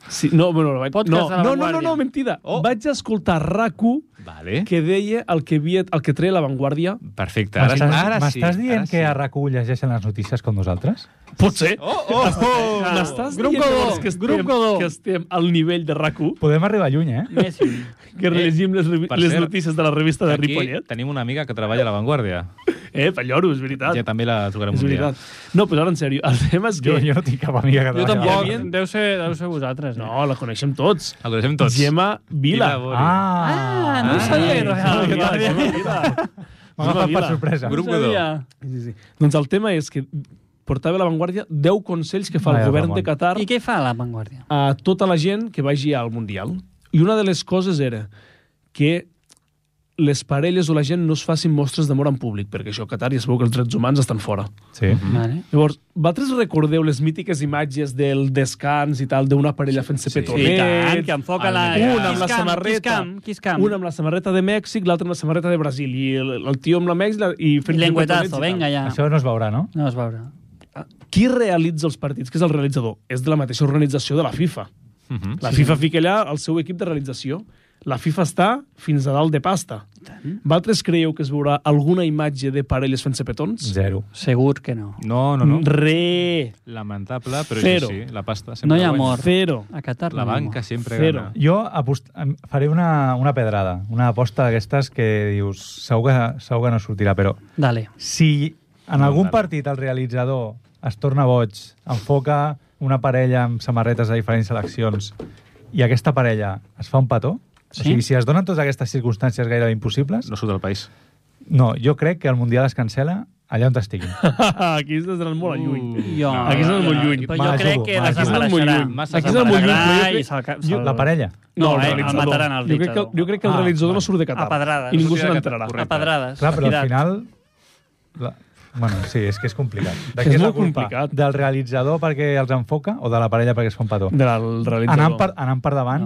Sí, no, bueno, vaig,
Podcast
no,
de La
no, no, no,
Vanguardia.
no, mentida.
Oh.
Vaig escoltar RAC1
Vale.
que deia el que, havia, el que treia La Vanguardia.
Perfecte. Ara,
M'estàs
ara sí.
m'estàs dient
ara
que
sí.
a RAC1 llegeixen les notícies com nosaltres?
Potser.
Oh, oh, oh.
M'estàs
Grup
dient
Godó,
llavors que
Grup
estem,
Godó.
que estem al nivell de RAC1,
Podem arribar lluny, eh?
Més lluny.
que rellegim les, revi-
per
les
cert,
notícies de la revista de
Aquí
Ripollet?
tenim una amiga que treballa a La Vanguardia.
Eh, Palloro, és veritat.
Ja també la trucarem
és
un dia.
veritat. No, però ara en sèrio, el tema és que...
Jo, jo no tinc cap amiga
Jo
que treballi a
tampoc.
RAC1.
Deu ser, deu ser vosaltres. Eh?
No, la coneixem tots.
El coneixem tots.
Gemma Vila.
Vila
Ah,
Ah, no
Ah,
sabia que
no
Gemma
treballava.
Vila, Gemma Vila.
m'ha agafat per
Vila.
sorpresa.
Grup
No
Godó.
sabia.
Sí, sí. Doncs el tema és que portava a la Vanguardia 10 consells que fa el
Vaja,
govern
Ramon.
de Qatar
I què fa la Vanguardia?
a tota la gent que vagi al Mundial. I una de les coses era que les parelles o la gent no es facin mostres d'amor en públic, perquè això a Qatar ja es veu que els drets humans estan fora.
Sí.
Vale.
Llavors, vosaltres recordeu les mítiques imatges del descans i tal d'una parella fent-se petonets?
I tant, que enfoca la...
Un amb la
Kiss cam,
samarreta.
Kiss cam, kiss cam.
Un amb la samarreta de Mèxic, l'altre amb la samarreta de Brasil. I el, el tio amb la Mèxic la- i
I
fent
Lengüetazo, venga ja.
Això no es veurà, no?
No es veurà.
Qui realitza els partits? Qui és el realitzador? És de la mateixa organització de la FIFA.
Uh -huh.
La FIFA fica allà el seu equip de realització. La FIFA està fins a dalt de pasta. Vosaltres creieu que es veurà alguna imatge de parelles fent-se petons?
Zero.
Segur que no.
No, no, no.
Re!
Lamentable, però
Zero.
Zero. sí, la pasta sempre
No hi ha
guanya.
amor.
Zero.
A Qatar
La
no hi ha
banca
amor.
sempre
Zero.
gana.
Jo apost... em- faré una, una pedrada, una aposta d'aquestes que dius, segur que, segur que no sortirà, però
Dale.
si en algun
Vale.
partit el realitzador es torna boig, enfoca una parella amb samarretes de diferents seleccions i aquesta parella es fa un petó,
Sí?
o sigui, si es donen totes aquestes circumstàncies gairebé impossibles,
No surt del país.
no, jo crec que el Mundial es cancela allà on estiguin.
Aquí estàs anant molt a lluny.
Uh.
Jo,
Aquí s'ha anat molt lluny.
Però jo
Va,
crec
jugo,
que
va, jugo.
desapareixerà.
Massa
Aquí s'ha anat molt lluny. però jo
Desapareixerà
crec-
i se'l ca-
jo-
se'l-
La parella.
No, el
eh, el
realitzador.
mataran, el
jo, crec que,
realitzador.
jo crec que el
Ah,
realitzador
vale.
no surt de
A
Qatar.
pedrades.
I ningú
No
se
surt de
n'entrarà.
Qatar,
A pedrades.
Clar, però
Cuidat.
al final... La... Bueno, sí, és que és complicat. De
És
què la
molt
culpa?
complicat.
Del realitzador perquè els enfoca o de la parella perquè es fa un petó?
Del realitzador.
Anant per, anant per davant,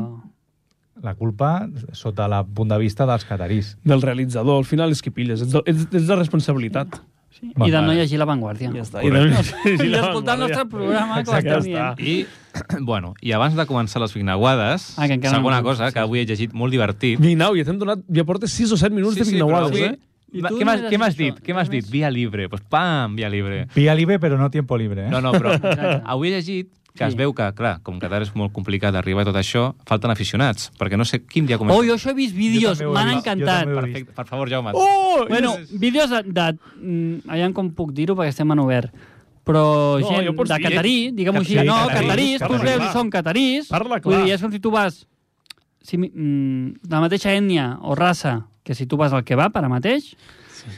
No.
la culpa sota la punt de vista dels catarís.
Del realitzador. Al final és que pilles. Ets, ets, ets la responsabilitat.
I de
Va,
no
vale.
llegir La Vanguardia.
Ja està.
I escoltar el nostre programa, que ho
Exacte, ja
estem
està.
dient.
I, bueno, i abans de començar les vignaguades,
Ah, que encara no
segona
hem-
cosa, que avui he llegit molt divertit.
Vignau, ja t'hem donat... Ja portes 6 o 7 minuts de
però
vignauades,
avui...
eh?
I
Ma-
tu
Què
no
m'has
diràs
què m'has
això,
dit? Què m'has
res
dit?
més?
Via libre. Pues pam, via libre.
Via libre, però no tiempo libre, eh?
No, no, però
Exacte.
avui he llegit que
Sí.
es veu que, clar, com Qatar és molt complicat d'arribar a tot això, falten aficionats, perquè no sé quin dia comença.
Oh, jo això he vist vídeos,
també ho he
m'han
vist, jo
encantat.
també ho he
Perfecte, per favor, Jaume.
Oh!
Bueno, vídeos de... de mm, aviam com puc dir-ho, perquè estem en obert. Però
No,
no, gent
ja pots
de
dir.
Catarí, diguem-ho
Sí,
així, no,
catarís,
catarís, tu
catarís,
veus i
clar.
són catarís.
Parla clar.
Vull dir, és com si tu vas... Si, mi- mm, de la mateixa ètnia o raça que si tu vas al kebab ara mateix,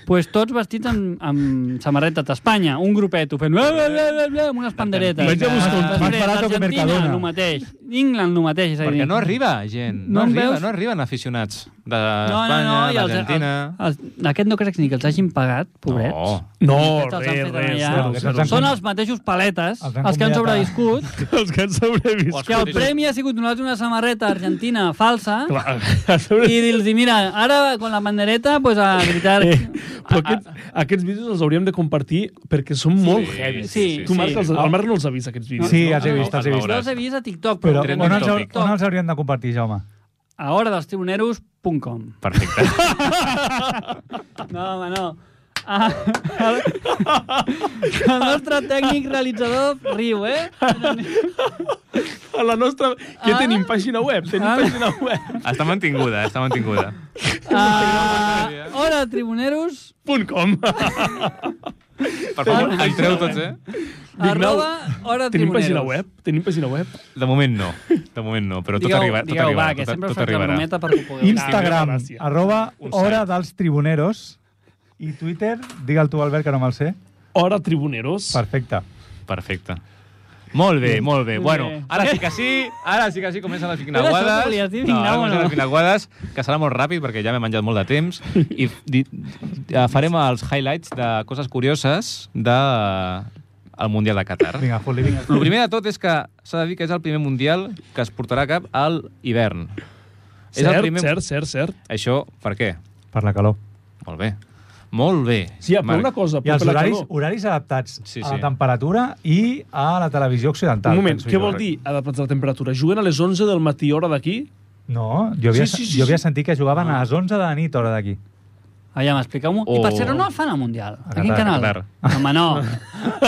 pues tots vestits amb, amb samarreta d'Espanya, un grupet, fent... Bla, bla, bla, bla, bla, amb unes panderetes.
Vaig a buscar un-
Més barato que Mercadona.
el mateix. England, el mateix. És a dir,
Perquè no arriba gent,
No
no,
em
arriba,
veus?
no arriben aficionats
no,
d'Espanya,
no, no, i els, ah,
d'Argentina...
els, els, aquest no crec ni que els hagin pagat, pobrets.
No,
No,
Els han
res,
fet
res.
allà.
zero,
Els
zero.
han-
Són els mateixos paletes,
Els
els,
han
que han
convidat a-
sobreviscut,
Els que han sobreviscut.
que el premi ha sigut donar una samarreta argentina falsa
Clar, han sobreviscut.
i dir-los, mira, ara con la bandereta, pues a gritar...
Eh, però aquests, aquests vídeos els hauríem de compartir perquè són molt heavy.
sí,
tu,
sí.
Marc, els, el Marc no els ha vist, aquests vídeos.
Sí,
no?
els he vist, els he
Jo
vist.
els he vist a TikTok,
Però
però,
Trending
on els,
topic.
on els hauríem de compartir, Jaume?
a hora dels tribuneros.com.
perfecte.
No, home, no. Ah, el, el nostre tècnic realitzador riu, eh?
A la nostra... Què
Ah.
tenim? Pàgina web? Tenim
Ah.
pàgina web.
Està mantinguda, està mantinguda.
Ah, hora de tribuneros,
Punt com.
Per favor, entreu tots, eh?
Vignau,
arroba hora de tribuneros.
Tenim pàgina web? Tenim pàgina web?
De moment no, de moment no, però tot
Digueu,
arriba, tot
digueu,
arribarà.
va, que
tot,
sempre us
tot
faig la
arribarà.
brometa perquè ho pugueu.
Instagram,
gràcies.
arroba
Un site.
hora dels tribuneros i Twitter, digue'l tu, Albert, que no me'l sé.
Hora Tribuneros.
Perfecte.
Perfecte. Molt bé, molt bé.
Molt
Bueno,
bé.
ara sí que sí, ara sí que sí comencen les
Era això
finaguades.
que volies dir,
no, ara
Vignau,
comencen
no?
les finaguades, que serà molt ràpid perquè ja m'he menjat molt de temps. I di, eh, farem els highlights de coses curioses de al Mundial de Qatar.
Vinga, fot-li, vinga.
El primer de tot és que s'ha de dir que és el primer Mundial que es portarà a cap al hivern. És el
Cert,
primer-
cert, cert, cert.
Això, per què?
Per la calor.
Molt bé. Molt bé.
Sí, ja, però
Marc.
una cosa,
I
però
els
per la
horaris,
calor.
horaris adaptats
Sí,
sí, sí. a
sí.
la temperatura i a la televisió occidental.
Un moment,
penso
què
jo. eh?
vol dir adaptats a la temperatura? Juguen a les 11 del matí, hora d'aquí?
No, jo
Sí,
havia, sí,
sí,
sí,
sí,
jo havia
sí. Ah.
sentit que jugaven a les 11 de la nit, hora d'aquí.
Aviam, expliqueu-m'ho. Oh. I per
Oh.
ser no el fan al Mundial. A,
Qatar,
quin
a
canal?
Qatar.
Home, no.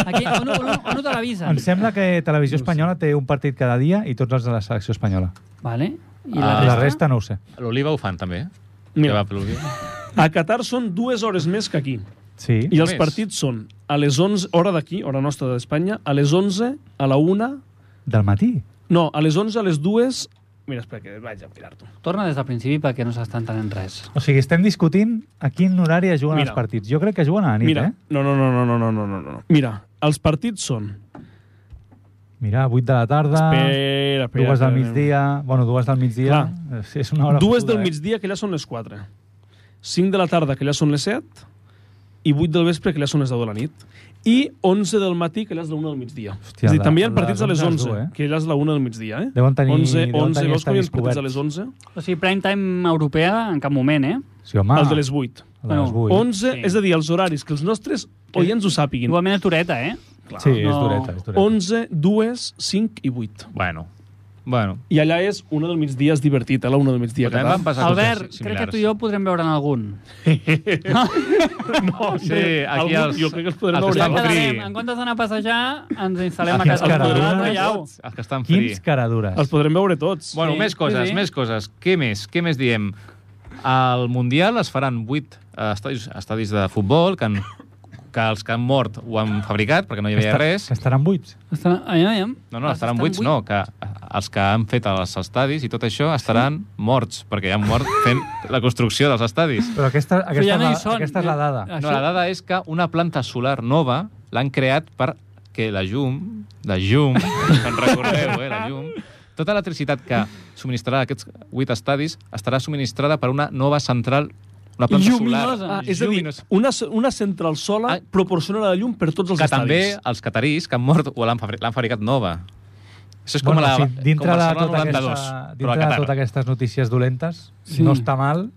Aquí, on, on, on ho
Em
televisen?
sembla que Televisió Espanyola té un partit cada dia i tots els de la selecció espanyola.
Vale. I
Ah.
la,
Ah. La resta no ho sé.
L'Oliva ho fan, també.
Mira.
Mira. Ja va, per l'Oliva.
A Qatar són dues hores més que aquí.
Sí.
I els
Més.
partits són a les 11, hora d'aquí, hora nostra d'Espanya, a les 11, a la 1...
Del matí.
No, a les 11, a les 2... Mira, espera, que vaig a mirar-t'ho.
Torna des del principi perquè no s'està entenent res.
O sigui, estem discutint a quin horari es juguen
Mira.
els partits. Jo crec que juguen a la nit,
Mira,
eh?
no, no, no, no, no, no, no, no, no. Mira, els partits són...
Mira, 8 de la tarda,
Espera, espera.
Ah, dues del
espera.
migdia... Bueno, dues del migdia...
Clar.
És- És una hora
Dues
fotuda,
del
eh?
migdia, que ja són les 4. 5 de la tarda, que ja són les 7. I 8 del vespre, que ja són les 10 de la nit. I 11 del matí, que ja és la 1 del migdia.
Hòstia,
és a dir,
la-
també hi ha
les
partits a les
11,
11,
eh?
que ja és la 1 del migdia, eh?
Deuen tenir-
11,
deuen
11,
tenir
veus com hi ha
estadis
els partits a
coberts.
les 11?
O sigui, prime time europea en cap moment, eh?
Sí, home,
El de les 8.
el de les
Bueno,
8.
11,
Sí.
és a dir, els horaris que els nostres oients ho sàpiguin.
Igualment a Tureta, eh?
Clar.
Sí, és
No.
dureta, és dureta.
11, 2, 5 i 8.
Bueno. Bueno.
I allà és una del migdia és divertit, a la una del migdia.
Però també van passar
Albert,
coses
crec
similars.
que tu i jo podrem veure en algun.
no,
Sí, aquí
algun,
els-
jo crec que els podrem
els
veure.
estan
allà.
fent-
Quedarem,
Free.
en comptes d'anar a passejar, ens instal·lem a
Quins
casa.
caradures.
Podrem ballar-ho.
Els que estan free.
Quins caradures.
Els podrem veure tots.
Bueno,
Sí,
sí, més coses,
sí,
sí,
sí.
sí. més coses. Què més? Què més diem? Al Mundial es faran 8 estadis, estadis de futbol que, han, que els que han mort ho han fabricat, perquè no hi havia
Està- Ah,
res.
Que estaran buits.
Estan- Aviam, aviam.
No, no,
Els
estaran
estan
buits, no, que els que han fet els estadis i tot això estaran morts, perquè han mort fent la construcció dels estadis.
Però aquesta,
Però
aquesta,
ja no hi
és, la,
són.
aquesta és la dada.
Eh,
No,
això-
la dada és que una planta solar nova l'han creat per que la llum, la llum, en recordeu, eh, la llum, tota l'electricitat que subministrarà aquests 8 estadis estarà subministrada per una nova central, una planta
Lluminosa.
solar.
Ah, és a dir,
Lluminosa.
una, ce- una central sola
Ah.
proporciona la llum per tots els
que
estadis.
també els catarís que han mort o l'han fabri- l'han fabricat nova. Això és com a la,
sí, dintre
com
de,
Barcelona
tota
92,
aquesta,
però a
dintre de tota
Qatar.
totes aquestes notícies dolentes,
Sí.
sí. no està mal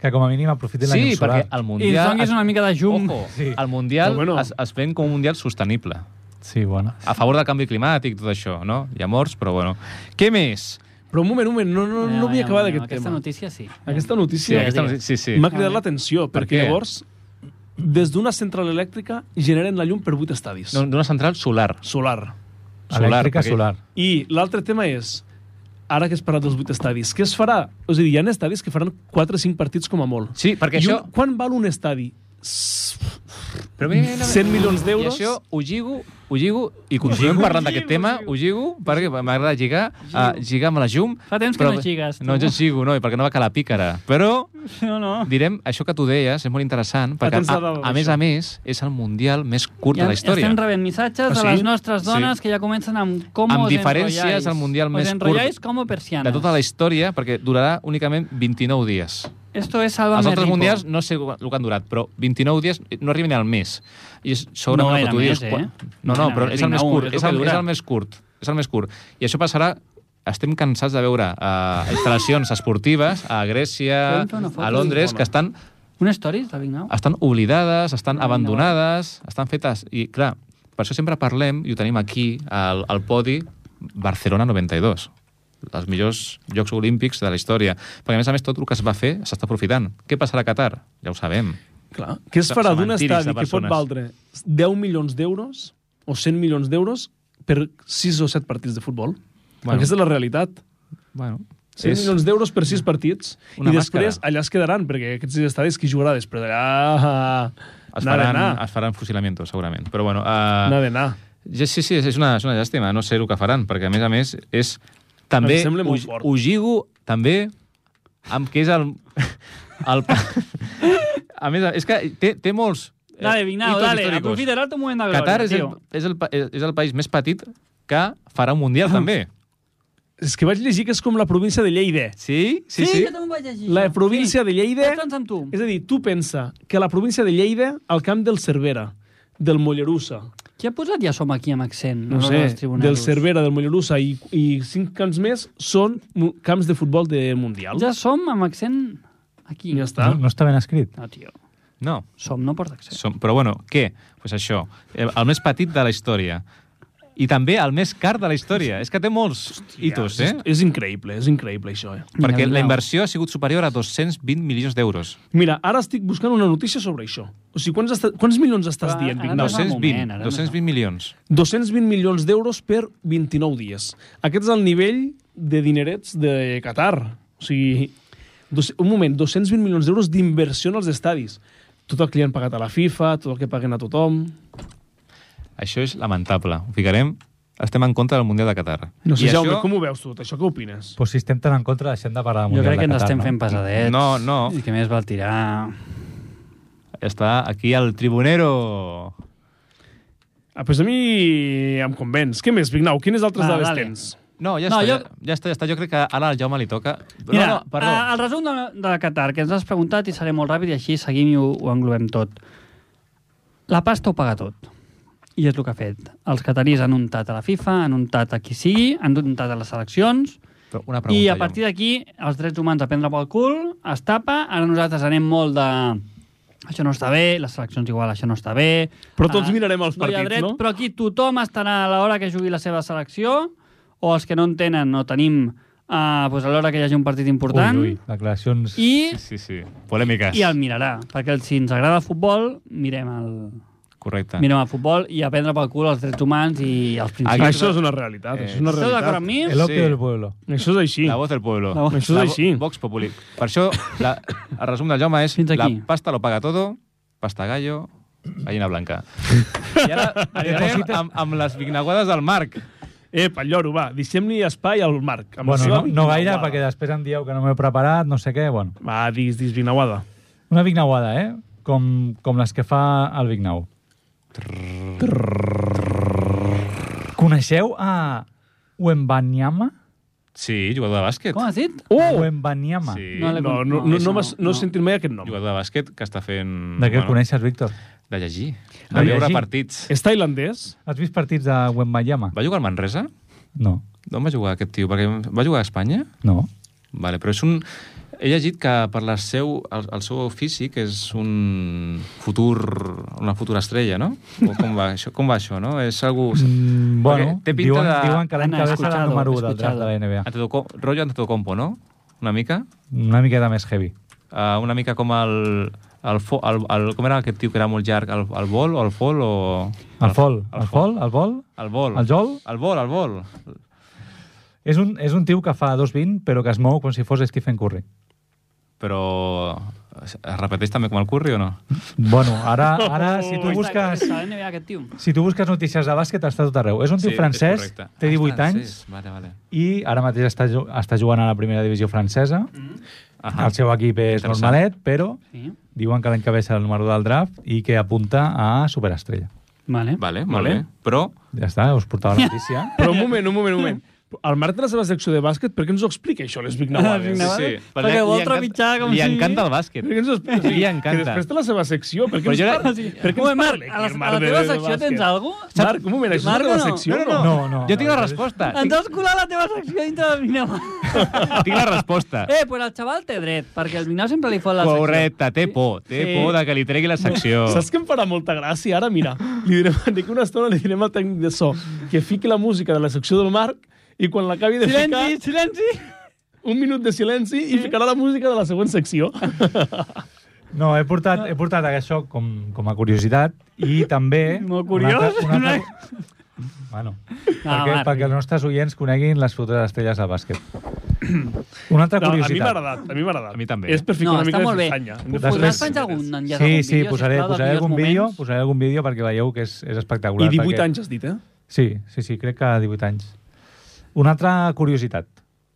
que com a mínim aprofitin la
Sí,
llum solar.
perquè
I
el
ens
Mundial...
donguis una mica de llum.
Ojo,
Sí.
el Mundial
Però bueno.
es, es ven com un Mundial sostenible.
Sí, bueno.
a favor del canvi climàtic, tot això, no? Hi ha morts, però bueno. Què més?
Però un moment, un moment, no, no, no,
Ah,
no vull
Aviam,
acabar
aviam,
d'aquest tema.
Ah, Aquesta notícia sí.
Aquesta
Sí,
notícia
aquesta,
digues.
sí, sí.
m'ha cridat l'atenció,
Per
perquè
què?
llavors, des d'una central elèctrica, generen la llum per vuit estadis.
No, D'una central solar.
Solar.
Solar,
Elèctrica
perquè-
solar.
I l'altre tema és, ara que es parla dels vuit estadis, què es farà? O sigui, hi ha estadis que faran 4 o 5 partits com a molt.
Sí, perquè
I
això...
un, quan val un estadi? S-
Però mira, mira, mira.
100 milions
I
d'euros?
això ho lligo, ho lligo, i continuem parlant d'aquest tema, ho lligo, perquè m'agrada lligar, uh, lligar amb la llum.
Fa temps que
però-
no lligues, tu.
No, jo lligo, no, i perquè no va calar pícara. Però
No, no.
direm, això que tu deies és molt interessant, perquè
Atents
a,
de dalt,
a més
això.
a més és el mundial més curt de la història.
estem rebent missatges
Ah,
de
sí?
les nostres
Sí.
dones que ja comencen amb com
Amb
os
diferències,
enrotlláis.
el mundial més
Os
curt
enrotlláis como persianes.
De tota la història, perquè durarà únicament 29 dies.
Esto es Salva
Els altres mundials no sé el que han durat, però 29 dies no arriben ni al mes. I és
No
segurament el
era
que tu dius.
més, eh?
quan- No, no,
Era
però
més,
és el més
29,
curt.
és el
És
que
el, és
dura.
el més curt. És el més curt. I això passarà estem cansats de veure uh, instal·lacions esportives a Grècia,
Podem fer una foto?
a Londres, que estan,
Un stories de Vignau?
estan oblidades, estan abandonades, estan fetes... I, clar, per això sempre parlem, i ho tenim aquí, al, al podi, Barcelona 92 els millors Jocs Olímpics de la història. Perquè, a més a més, tot el que es va fer s'està aprofitant. Què passarà a Qatar? Ja ho sabem.
Clar. Què es
Ce-
farà d'un
cementiris de
estadi que pot
persones.
valdre 10 milions d'euros o 100 milions d'euros per 6 o 7 partits de futbol?
Bueno.
Bueno. Aquesta és la realitat.
Bueno,
100 és... milions d'euros per 6 partits
Una
i després
màscara.
allà es quedaran, perquè aquests estadis qui jugarà després d'allà...
es
N'ha
faran,
d'anar.
es faran fusilamientos, segurament. Però bueno,
N'ha
uh,
d'anar.
ja, sí, sí, és una, és una llàstima no sé el que faran, perquè a més a més és també,
Em sembla
ho,
molt fort.
ho lligo també amb què és el... el pa- a més, a- és que té, té molts eh,
Dale, Vignau,
hitos
dale,
históricos.
aprofita el alto moment de gloria,
Qatar és el,
tio.
és, el, pa- és, és el país més petit que farà un Mundial, també.
És que vaig llegir que és com la província de Lleida.
Sí?
Sí,
Sí, sí.
jo també ho vaig llegir.
La província de Lleida...
Tots amb tu.
És a dir, tu pensa que la província de Lleida, al camp del Cervera, del Mollerussa,
Qui ha posat ja som aquí amb accent?
no
a l'hora
sé,
dels tribuneros?
del Cervera, del Mollerussa i, i cinc camps més són mu- camps de futbol de Mundial.
Ja som amb accent aquí.
ja
No,
està.
no està ben escrit.
No, tio.
No,
Som no porta accent.
som, però bueno, què? Doncs pues això, eh, el més petit de la història. I també el més car de la història. És que té molts hitos, eh?
és, és increïble, és increïble això. Eh?
Perquè
Mira,
la
Bilbao.
inversió ha sigut superior a 220 milions d'euros.
Mira, ara estic buscant una notícia sobre això. O sigui, quants, esta, quants milions estàs
Però
dient,
ara
Vignau?
no és el
220,
moment, ara no és el
220 milions.
220 milions d'euros per 29 dies. Aquest és el nivell de dinerets de Qatar. O sigui, dos, un moment, 220 milions d'euros d'inversió en els estadis. Tot el que li han pagat a la FIFA, tot el que paguen a tothom...
Això és lamentable. Ho ficarem... Estem en contra del Mundial de Qatar.
No sé,
I
Jaume,
això-
com ho veus tu, tot això? Què opines?
Però si estem tan en contra, deixem de parlar
Jo
del Mundial
crec que
de
ens
Qatar,
estem
no?
fent pesadets.
No, no.
I que més val tirar...
Està aquí el tribunero.
Ah, pues a mi em convenç. Què més, Vignau? Quines altres
Va,
dades
dale.
tens?
No, ja,
No,
no, està,
jo-
jo... ja, ja està, ja està. Jo crec que ara al Jaume li toca...
Mira,
no, no, perdó.
eh, el resum de, de Qatar, que ens has preguntat, i seré molt ràpid, i així seguim i ho, ho englobem tot. La pasta ho paga tot. I és el que ha fet. Els catarís han untat a la FIFA, han untat a qui sigui, han untat a les seleccions,
Però Una pregunta,
Pregunta I a partir d'aquí, els drets humans a prendre pel cul, es tapa, ara nosaltres anem molt de... Això no està bé, les seleccions igual, això no està bé...
Però tots
Ah,
mirarem els
no hi ha
partits,
dret,
no?
Però aquí tothom estarà a l'hora que jugui la seva selecció, o els que no en tenen, no tenim, eh, doncs a l'hora que hi hagi un partit important,
Ui, ui, declaracions...
i,
Sí, sí, sí. Polèmiques.
i el mirarà. Perquè si ens agrada el futbol, mirem el,
Correcte.
mirem el futbol i a prendre pel cul els drets humans i els principis.
Aquí-
Això és una realitat,
Eh,
això és una
Esteu
realitat.
d'acord amb mi?
El opio
Sí.
del pueblo.
Això és així.
La voz del pueblo.
La voz-
Això és
La vo-
així.
Vox Populi. Per això, la, el resum del Jaume és
Fins
la
aquí.
pasta lo paga todo, pasta gallo, gallina blanca. I ara anirem amb, amb les vignaguades del Marc.
Ep, el lloro, va, deixem-li espai al Marc. amb la
Bueno,
seva
no, no gaire,
vignauada.
perquè després em dieu que no m'he preparat, no sé què, bueno.
Va, diguis, diguis, Vignauada.
Una vignauada, eh? Com, com les que fa el Vignau. Coneixeu a Wembanyama?
Sí, jugador de bàsquet.
Com has dit?
Oh! Wembanyama.
Sí,
No
No,
l'he
no,
con-
no,
no,
no, no,
això no,
m'has- no,
no.
he sentit mai aquest nom.
jugador de bàsquet que està fent...
De què el coneixes, Víctor?
De llegir. De
Ah,
veure
llegir.
partits.
És tailandès?
Has vist partits de Wembanyama?
Va jugar al Manresa?
No,
D'on va jugar aquest tio? Perquè va jugar a Espanya?
no.
Vale, però és un... He llegit que per la seu, el, el seu físic és un futur, una futura estrella, no? O com va això? Com va això no? És algú...
Mm, bueno,
Perquè té pinta
diuen,
de...
diuen que l'any
Anna,
que ve serà
escuchado,
el número 1 del draft
escuchado.
de la NBA.
Antetoco... Rollo Antetokounmpo, no? Una mica?
Una miqueta més heavy.
Uh, una mica com el, el, fo, el, el... Com era aquest tio que era molt llarg? El, el vol o el fol o...
El fol, el fol, el vol...
El vol.
El Jol?
El vol, el vol.
És un, és un tio que fa 2'20, però que es mou com si fos Stephen Curry.
Però... Es es repeteix també com el Curry o no?
Bueno, ara, ara si tu
Està-
busques...
està a la NBA eh, aquest tio.
Si tu busques notícies de bàsquet, està a tot arreu. És un tio
és
francès,
correcte.
té
Ah,
18 anys,
francès. Vale, vale.
i ara mateix està, ju- està jugant a la primera divisió francesa.
Ahà.
El seu equip és
Mm. Interessant.
normalet, però
Sí.
diuen que l'any que ve serà el número del draft i que apunta a Superestrella.
Vale.
Vale, molt
Vale.
bé. Però...
Ja està, us portava la notícia.
Però un moment, un moment, un moment. Al Marc de la seva secció de bàsquet, per què ens ho explica, això, les
Les
Vignauades?
Vignauades.
Sí, sí.
Perquè
Li
vol
encanta-
trepitjar com
Li
si-
encanta el bàsquet.
Per què ens ho explica?
Li encanta.
Que després té la seva secció, per què
Però
ens
jo era-
parla?
Sí.
Per què ens
Moment, Marc,
parla
a la,
aquí,
a la
de-
teva
de
secció
bàsquet?
tens alguna cosa?
Marc, un moment, això
Marc,
és la
no.
teva secció?
No, no, no.
Jo tinc la
no.
resposta.
Ens has colat la teva secció dintre del Vineu.
Tinc la resposta.
eh, pues el xaval té dret, perquè el Vineu sempre li fot la secció.
Correcte, té por. Té
Sí.
por de que li tregui la secció.
Saps que em farà molta gràcia? Ara, mira, li direm, d'aquí una estona li direm al tècnic de so que fiqui la música de la secció del Marc i quan l'acabi de ficar,
Silenci, silenci.
un minut de silenci i ficarà la música de la següent secció.
No, he portat, he portat això com, com a curiositat i també...
Molt curiós.
Un altre, un altre... Bueno,
Ah,
perquè,
Marc.
perquè els nostres oients coneguin les futures estrelles de bàsquet. Una
No, a mi m'ha
altra curiositat.
agradat, a mi m'ha agradat.
A mi també.
És per ficar
No,
una
està
mica
molt
de
bé.
festanya. Hem de fer
Podràs
Després-
festanya.
penjar algun enllaç
Sí,
algun
sí,
vídeo,
posaré,
sisplau, dels
posaré algun
millors
vídeo,
moments?
posaré algun vídeo perquè veieu que és, és espectacular.
I 18
perquè...
anys has dit, eh?
Sí, sí, sí, crec que 18 anys. Una altra curiositat,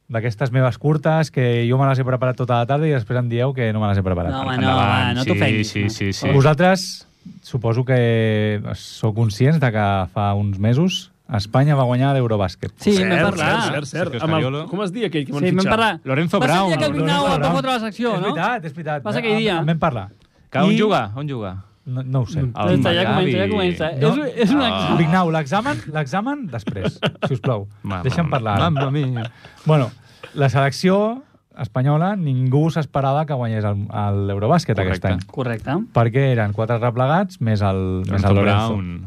d'aquestes meves curtes, que jo me les he preparat tota la tarda i després em dieu que no me les he preparat.
No, home, no,
Endavant.
va, no
Sí,
t'ofenguis.
sí, sí, sí.
Vosaltres suposo que sou conscients de que fa uns mesos Espanya va guanyar l'Eurobàsquet.
Sí,
Cert,
vam parlar.
Cert, cert,
Sergio
cert. Amb el,
Scariolo.
com es deia aquell que m'han
Sí, vam
fitxat?
parlar.
Lorenzo
Va ser el dia
Brown.
que el Vignau
Lorenzo
et va
Brown.
fotre la secció,
és
no?
veritat, és veritat.
Va ser aquell dia.
En, en vam parlar.
Que on
I
juga? Mm. On juga?
No, no ho sé.
El
Ja està, ja
Maccabi.
comença, ja comença.
No.
És, és un
Ah.
examen.
Vignau, l'examen, l'examen després, si us plau.
Mamma
Deixa'm
mia.
parlar. ara.
Mamma mia.
Bueno, la selecció espanyola ningú s'esperava que guanyés el- el- l'Eurobàsquet aquest
Correcte.
any.
Correcte.
Perquè eren quatre replegats més el, més el
Anton
Lorenzo.
Brown.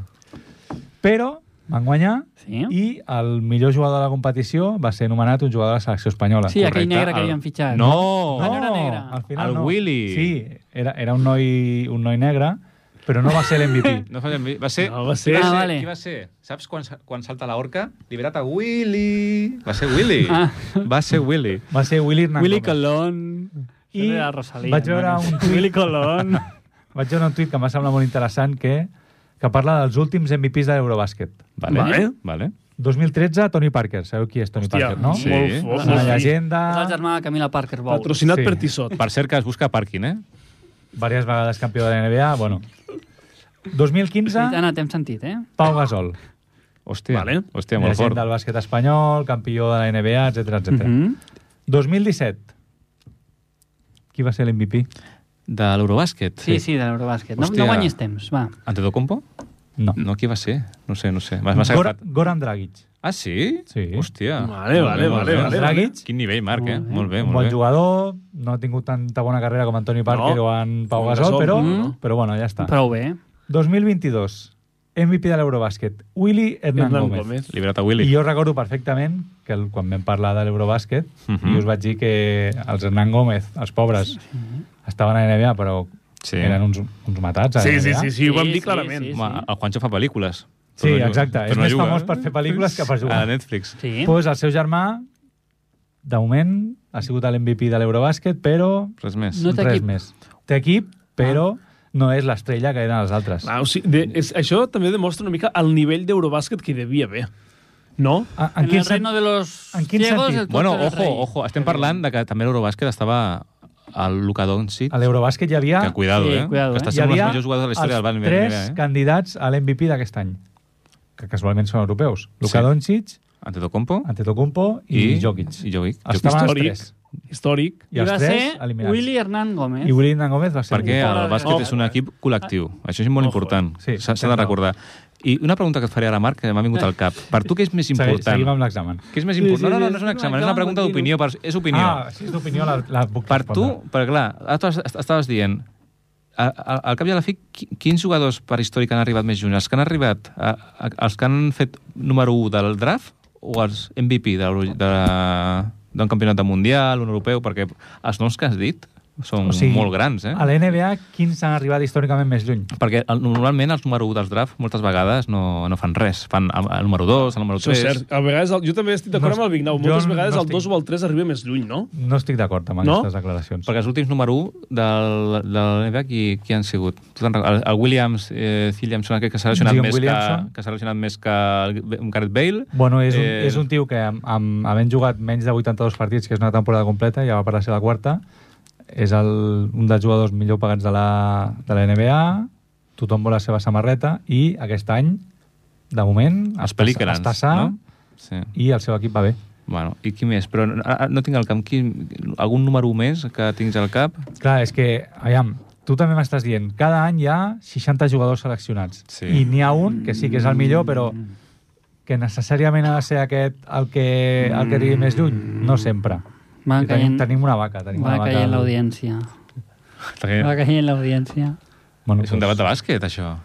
Però van guanyar
Sí.
i el millor jugador de la competició va ser nomenat un jugador de la selecció espanyola.
Sí, aquell
Correcte,
negre que
el-
havien fitxat.
No!
Ah, no era negre.
Al final
El
no.
Willy.
Sí, era, era un, noi, un noi negre, però no va ser l'MVP.
No fa Va ser...
No, va ser-
Qui
Ah,
ser-
vale.
Qui va ser? Saps quan, sa- quan salta la orca? Liberat a Willy! Va ser Willy.
Ah.
Va ser Willy.
Va ser Willy Hernán
Willy
Gómez.
Colón. I
I
de la Rosalía.
vaig veure
hermanos.
un tuit-
Willy Colón.
Vaig veure un tuit que em va semblar molt interessant que, que parla dels últims MVPs de l'Eurobàsquet.
Vale.
Vale.
vale.
2013, Tony Parker. Sabeu qui és Tony Parker, no?
sí.
Molt fort.
És
molt
Una
fort.
llegenda,
És el germà de Camila Parker Bowles.
Patrocinat
Sí.
per Tissot.
Per cert, que es busca pàrquing, eh?
diverses vegades campió de la NBA, bueno. 2015,
Anna, t'hem sentit, eh?
Pau Gasol.
Hòstia,
Vale.
hòstia molt
llegenda
fort.
del bàsquet espanyol, campió de la NBA, etc etc.
Mhm.
2017, qui va ser l'MVP?
De l'Eurobàsquet?
Sí, sí, de l'Eurobàsquet. No,
Hòstia.
no guanyis temps, va.
Antetokounmpo?
No.
No, qui va ser? No sé, no sé. M'has m'has
Gor
agafat.
Goran Dragic.
Ah, sí?
Sí.
Hòstia.
Vale,
Molt
vale,
bé, molt
vale,
bé.
vale,
Dragic,
Quin nivell, Marc, eh? Molt bé,
un
molt
bon
bé.
jugador, no ha tingut tanta bona carrera com Antoni Parker
No.
o en Pau
Com
Gasol,
Gasol,
però,
no.
però bueno, ja està.
Prou bé.
2022, MVP de l'Eurobàsquet, Willy Hernán
Hernán
Gómez.
Gómez.
Liberat a Willy.
I jo recordo perfectament que el, quan vam parlar de l'Eurobàsquet uh
Mhm.
-huh. i us vaig dir que els Hernán Gómez, els pobres, estaven a NBA, però sí.
Sí.
eren uns, uns matats a
Sí, sí,
NBA.
sí, sí, ho vam
Sí,
dir
sí,
clarament.
sí,
Home, el Juancho fa pel·lícules.
Sí,
Però no juga.
exacte.
Però
És
no
més
juga,
famós
eh?
per fer pel·lícules que per jugar.
A Netflix.
Sí.
Pues el seu germà, de moment, ha sigut l'MVP de l'Eurobàsquet, però
Res més.
No té
res
equip. Ah.
més. Té equip, però no és l'estrella que eren els altres.
Ah, o sigui, de, és, això també demostra una mica el nivell d'Eurobàsquet que hi devia haver. No?
A-
En, el
sen-
reino de los
en quin
ciegos,
sentit?
el tonto
Bueno,
era el
ojo,
rei.
ojo. Estem parlant de que també l'Eurobàsquet estava al Luka Doncic.
A l'Eurobàsquet hi havia,
Que cuidado,
Sí,
eh?
cuidado,
que
eh?
està
hi
sent un dels
havia
millors jugadors de la història del
els
Bayern
tres
Mira, eh?
candidats a l'MVP d'aquest any, que casualment són europeus. Luka
Sí.
Doncic,
Antetokounmpo
Antetokounmpo i, Jokic.
I Jokic.
Estaven els
Històric.
tres.
Històric.
I
I
els
va
tres
ser
eliminats.
Willy Hernán Gómez.
I Willy Hernán Gómez va ser...
Perquè
l'últim.
el bàsquet
Oh.
és un equip col·lectiu. Això és molt
Ojo,
important.
eh? Sí,
S'ha s'ha de recordar. I una pregunta que et faré ara, Marc, que m'ha vingut al cap. Per tu què és més
Segui- Seguim
important?
amb l'examen.
Què és més
Sí,
important?
sí,
No, no,
sí,
no és
sí,
un examen, és una pregunta d'opinió. per- És opinió.
Ah, si és d'opinió, la, la puc
Per tu,
respondre.
però clar, ara tu es- estaves dient a- a- al cap i a la fi, qui- quins jugadors per històric han arribat més junts? Els que han arribat, a, a, els que han fet número 1 del draft o els MVP de, l'Euro- de, d'un campionat de mundial, un europeu? Perquè els noms que has dit són
O sigui,
molt grans, eh?
A la NBA, quins han arribat històricament més lluny?
Perquè el, normalment els número 1 dels draft moltes vegades no, no fan res. Fan el, el número 2, el número
Això és
3...
cert. A vegades, el, jo també estic d'acord
No,
amb el Vignau.
jo
Moltes
no
vegades el
estic.
2 o el 3 arriba més lluny, no?
No estic d'acord amb
No?
aquestes declaracions.
Perquè els últims número 1 del, de la NBA qui, qui han sigut? Tu te'n recordes? El, el Williams, eh, Williamson, aquest que s'ha relacionat,
Zion
més que,
Williamson.
que s'ha relacionat més que el B- Garrett Bale.
Bueno, és un,
Eh,
eh... és un tio que, amb, amb, havent jugat menys de 82 partits, que és una temporada completa, ja va per la seva quarta, és el, un dels jugadors millor pagats de la, de la NBA, tothom vol la seva samarreta, i aquest any, de moment,
Els
està-
Pelicans,
està sa,
no? Sí.
i el seu equip va bé.
Bueno, i qui més? Però no, ara no tinc al cap. Qui, algun número 1 més que tinguis al cap?
Clar, és que, aviam, tu també m'estàs dient, cada any hi ha 60 jugadors seleccionats,
Sí.
i n'hi ha un que sí que és el millor, però que necessàriament ha de ser aquest el que, el que digui més lluny? No sempre.
Va
I
caient,
Tenim, tenim una vaca. Tenim
va
una vaca
caient
al-
l'audiència. Va caient l'audiència.
Bueno,
És un debat de bàsquet, això.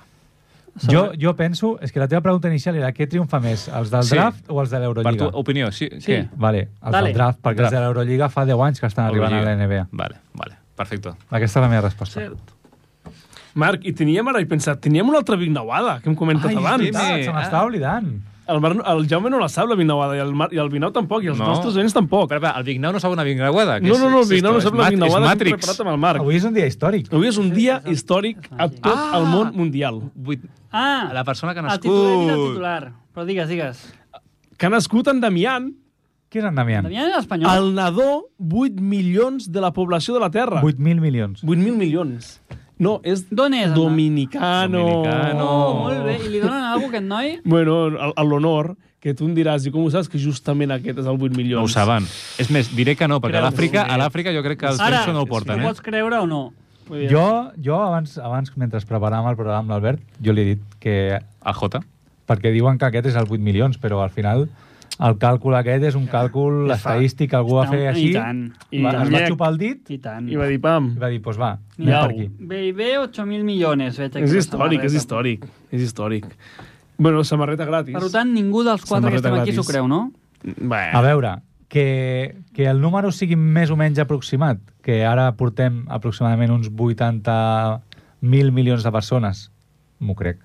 Jo, jo penso... És que la teva pregunta inicial era què triomfa més, els del
Sí.
draft o els de
Per tu,
l'Eurolliga?
opinió, sí?
Sí.
Què?
Vale, els
Dale.
del draft, perquè els
Draft.
de l'Eurolliga fa 10 anys que estan arribant a la NBA.
Vale, vale. Perfecto.
Aquesta és la meva resposta.
Cert. Marc, i teníem ara, he pensat, teníem una altra Vignauada, que hem comentat
Ai,
abans.
sí,
Ah,
sí.
se m'està oblidant.
El, Mar, el Jaume no la sap, la Vignauada, i el, Mar, i el Vinau tampoc, i els
No.
nostres oients tampoc.
Però, però, el Vignau no sap una vingrauada. que
No,
és-
no, no, el
és
Vignau no
esto,
sap
és
la
mat-
Vignauada,
és
que hem
Matrix.
preparat amb el Marc.
Avui és un dia històric.
Avui és un dia històric a tot
Ah!
el món mundial.
Vuit...
Ah,
La persona que ha
el titular, he dit el
nascut.
titular. Però digues, digues.
Que ha nascut en Damián,
Qui és en Damián?
Damià era espanyol?
el nadó 8 milions de la població de la Terra.
8.000 milions.
8.000 milions. No, és
D'on és, Anna?
dominicano.
Dominicano.
Oh, molt bé. I li donen alguna cosa a aquest noi?
Bueno, a a l'honor, que tu em diràs, i com ho saps que justament aquest és el 8 milions?
No ho saben. És més, diré que no, perquè a
Creus?
l'Àfrica a l'Àfrica jo crec que els
Ara,
Simpson no ho porten,
ho
eh?
pots creure o no?
Muy bien.
Jo, jo abans, abans, mentre preparàvem el programa amb l'Albert, jo li he dit que...
El Jota?
Perquè diuen que aquest és el 8 milions, però al final el càlcul aquest és un càlcul estadístic, algú va
Està-
fer
i
així,
tant, i
va, es va
tant.
xupar el dit
I tant.
I va dir, pam,
i va dir, doncs pues va, anem
Iau.
per aquí.
Baby, 8.000 milions. Veig aquí
és històric,
la
és
samarreta.
històric, és històric. Bueno, samarreta gratis.
Per tant, ningú dels quatre que
Samarreta
estem aquí
gratis.
s'ho creu, no?
Bé,
A veure, que, que el número sigui més o menys aproximat, que ara portem aproximadament uns 80.000 milions de persones, m'ho crec.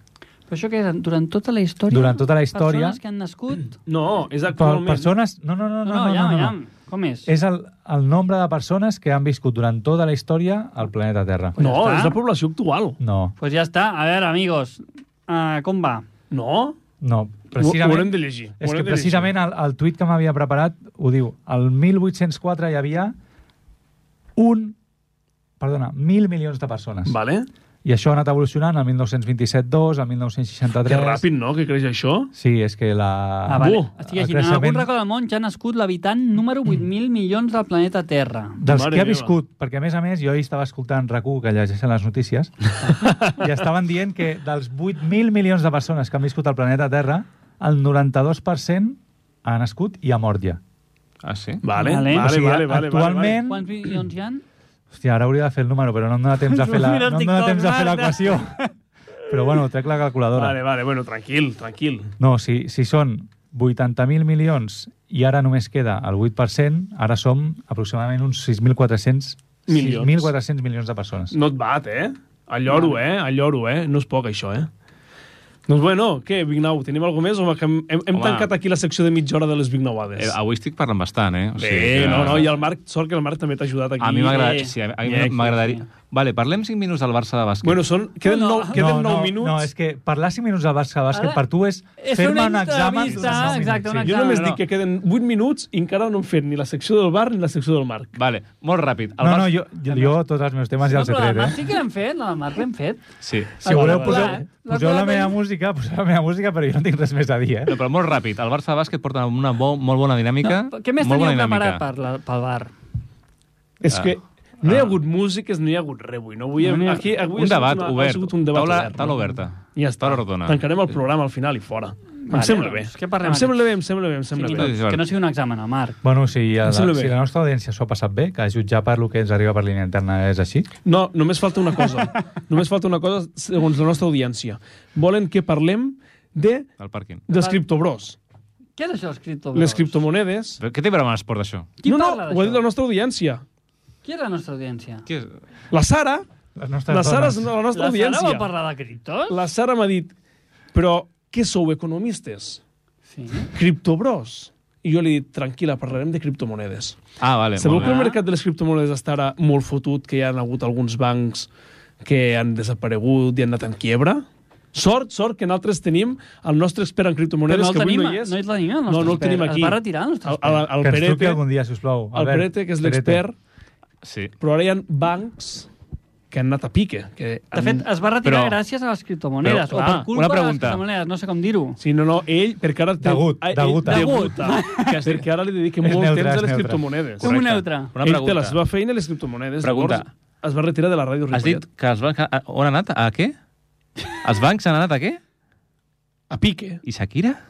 Però això que és durant tota la història?
Durant tota la història-
Persones que han nascut?
No, és
Per,
actualment...
persones... No, no, no, no, no, no,
ja,
no,
ja.
no.
Com és?
És el, el nombre de persones que han viscut durant tota la història al planeta Terra.
No,
Ja està.
és la població actual.
No,
Pues ja està. A veure, amigos, uh, com va?
No?
no.
Ho, ho haurem
Precisament,
de llegir. ho
és
haurem de llegir.
que precisament el, el tuit que m'havia preparat ho diu. El 1804 hi havia un... Perdona, mil milions de persones.
Vale?
I això ha anat evolucionant al 1927-2, al 1963...
Que ràpid, no?, que creix això.
Sí, és que la...
Ah, vale.
buh,
Estic llegint.
el
En algun
creixement-
racó del món ja ha nascut l'habitant número 8.000 milions del planeta Terra.
Dels
Mare
que ha
meva.
viscut, perquè a més a més jo ahir estava escoltant rac que llegeixen les notícies, i estaven dient que dels 8.000 milions de persones que han viscut al planeta Terra, el 92% ha nascut i ha mort ja.
Ah, sí?
Vale, vale,
Vale. O
vale.
sigui,
vale, vale
eh, actualment-
Quants milions hi ha?
Hòstia, ara hauria de fer el número, però no em dona temps a fer la,
Mira el
no em dona
TikTok,
temps a fer
Marta.
l'equació. Però bueno, trec la
Vale.
calculadora.
vale, vale, bueno, tranquil, tranquil.
No, si, si són 80.000 milions i ara només queda el 8%, ara som aproximadament uns 6.400
Milions.
6.400 milions de persones.
No et bat, eh? Alloro, eh? Alloro, eh? No és poc, això, eh? Doncs bueno, què, Vignau, tenim alguna més? Home, que hem, hem, hem
Home.
tancat aquí la secció de mitja hora de les Vignauades.
Eh, avui estic parlant bastant, eh? O
Bé,
que-
no, no, i el Marc, sort que el Marc també t'ha ajudat aquí.
A mi m'agrada...
eh,
Sí, a mi
eh,
m'agradaria... Vale, parlem 5 minuts del Barça de bàsquet.
Bueno, són, queden,
No, no.
nou, queden
no,
9
no,
minuts.
No, és que parlar 5 minuts de bàsquet, bàsquet
Ara-
per tu és,
És
fer-me
una
un examen.
entrevista,
de 5
exacte, una
minuts,
Jo només
no, no.
dic que queden 8 minuts i encara no hem fet ni la secció del bar ni la secció del Marc.
Vale, molt ràpid.
No, no, jo, jo, jo tots els meus temes ja els
no,
he
però la
tret,
Marc
eh?
sí que l'hem fet, la Marc l'hem fet.
Sí.
Si voleu,
Vale,
poseu,
vale.
La-
poseu la
la-
meva música, poseu la meva música, però jo no tinc res més a dir, eh?
No, però molt ràpid. El Barça de bàsquet porta una bo, molt
Ah.
bona dinàmica.
No, què més
molt
teníem
bona
preparat
dinàmica.
per la, pel bar?
És
Ah.
que no hi ha hagut músiques, no hi ha hagut res avui. No? Avui,
No n'hi ha-
aquí, avui
Un
ha sigut
debat
una, ha
obert.
sigut un debat
taula,
obert. no?
taula oberta.
I ja està.
Taula rodona.
Tancarem el programa al final i fora. em
Vale,
sembla bé.
doncs, què parlem
em sembla bé, em sembla bé, em sembla
Cinc
bé.
minuts, que no sigui un examen, el Marc.
Bueno, si, la,
Em sembla bé.
si la nostra audiència s'ho ha passat bé, que jutjar per lo que ens arriba per línia interna és així,
No, només falta una cosa. només falta una cosa segons la nostra audiència. Volen que parlem de
Al pàrquing.
dels criptobros,
Què és això, escriptor?
les criptomonedes...
Però Què té a veure amb l'esport, això?
Qui
no, no,
parla
ho ha dit
d'això?
la nostra audiència.
Qui és la nostra audiència?
Què és?
La Sara,
les nostres
la Sara és
dones...
la nostra
La Sara
audiència.
va parlar de criptos?
La Sara m'ha dit, però què sou economistes?
Sí.
Criptobros. I jo li he dit, tranquil·la, parlarem de criptomonedes.
Ah, vale.
Sabeu
molt
que
bé.
el mercat de les criptomonedes està ara molt fotut, que hi han hagut alguns bancs que han desaparegut i han anat en quiebra? Sort, sort, que nosaltres tenim el nostre expert en criptomonedes,
Però no el
que avui
tenim,
no hi és.
no és la tenim, el
no,
nostre
no el tenim
expert.
aquí.
Es va retirar el nostre
el, el, el,
Que ens truqui
Perete,
algun dia, sisplau.
el Perete, que és l'expert,
Sí.
però ara hi ha bancs que han anat a pique. Que
De fet, eh, es va retirar
Però-
gràcies a les criptomonedes,
però,
o
clar,
per culpa
una
de les
pregunta.
criptomonedes, no sé com dir-ho.
Sí, no, no, ell, perquè ara... té-
Degut,
ah, ell-
degut.
degut. Que- perquè ara li dedica
És
molt
neutre,
temps
és
a les
neutre.
criptomonedes.
Som un neutre.
Una
ell té la
pregunta.
seva feina i les criptomonedes.
Pregunta.
Llavors, es va retirar de la ràdio
Has dit
Ripollet.
que els bancs... a- On han anat? A què? Els bancs han anat a què?
A pique.
I Shakira?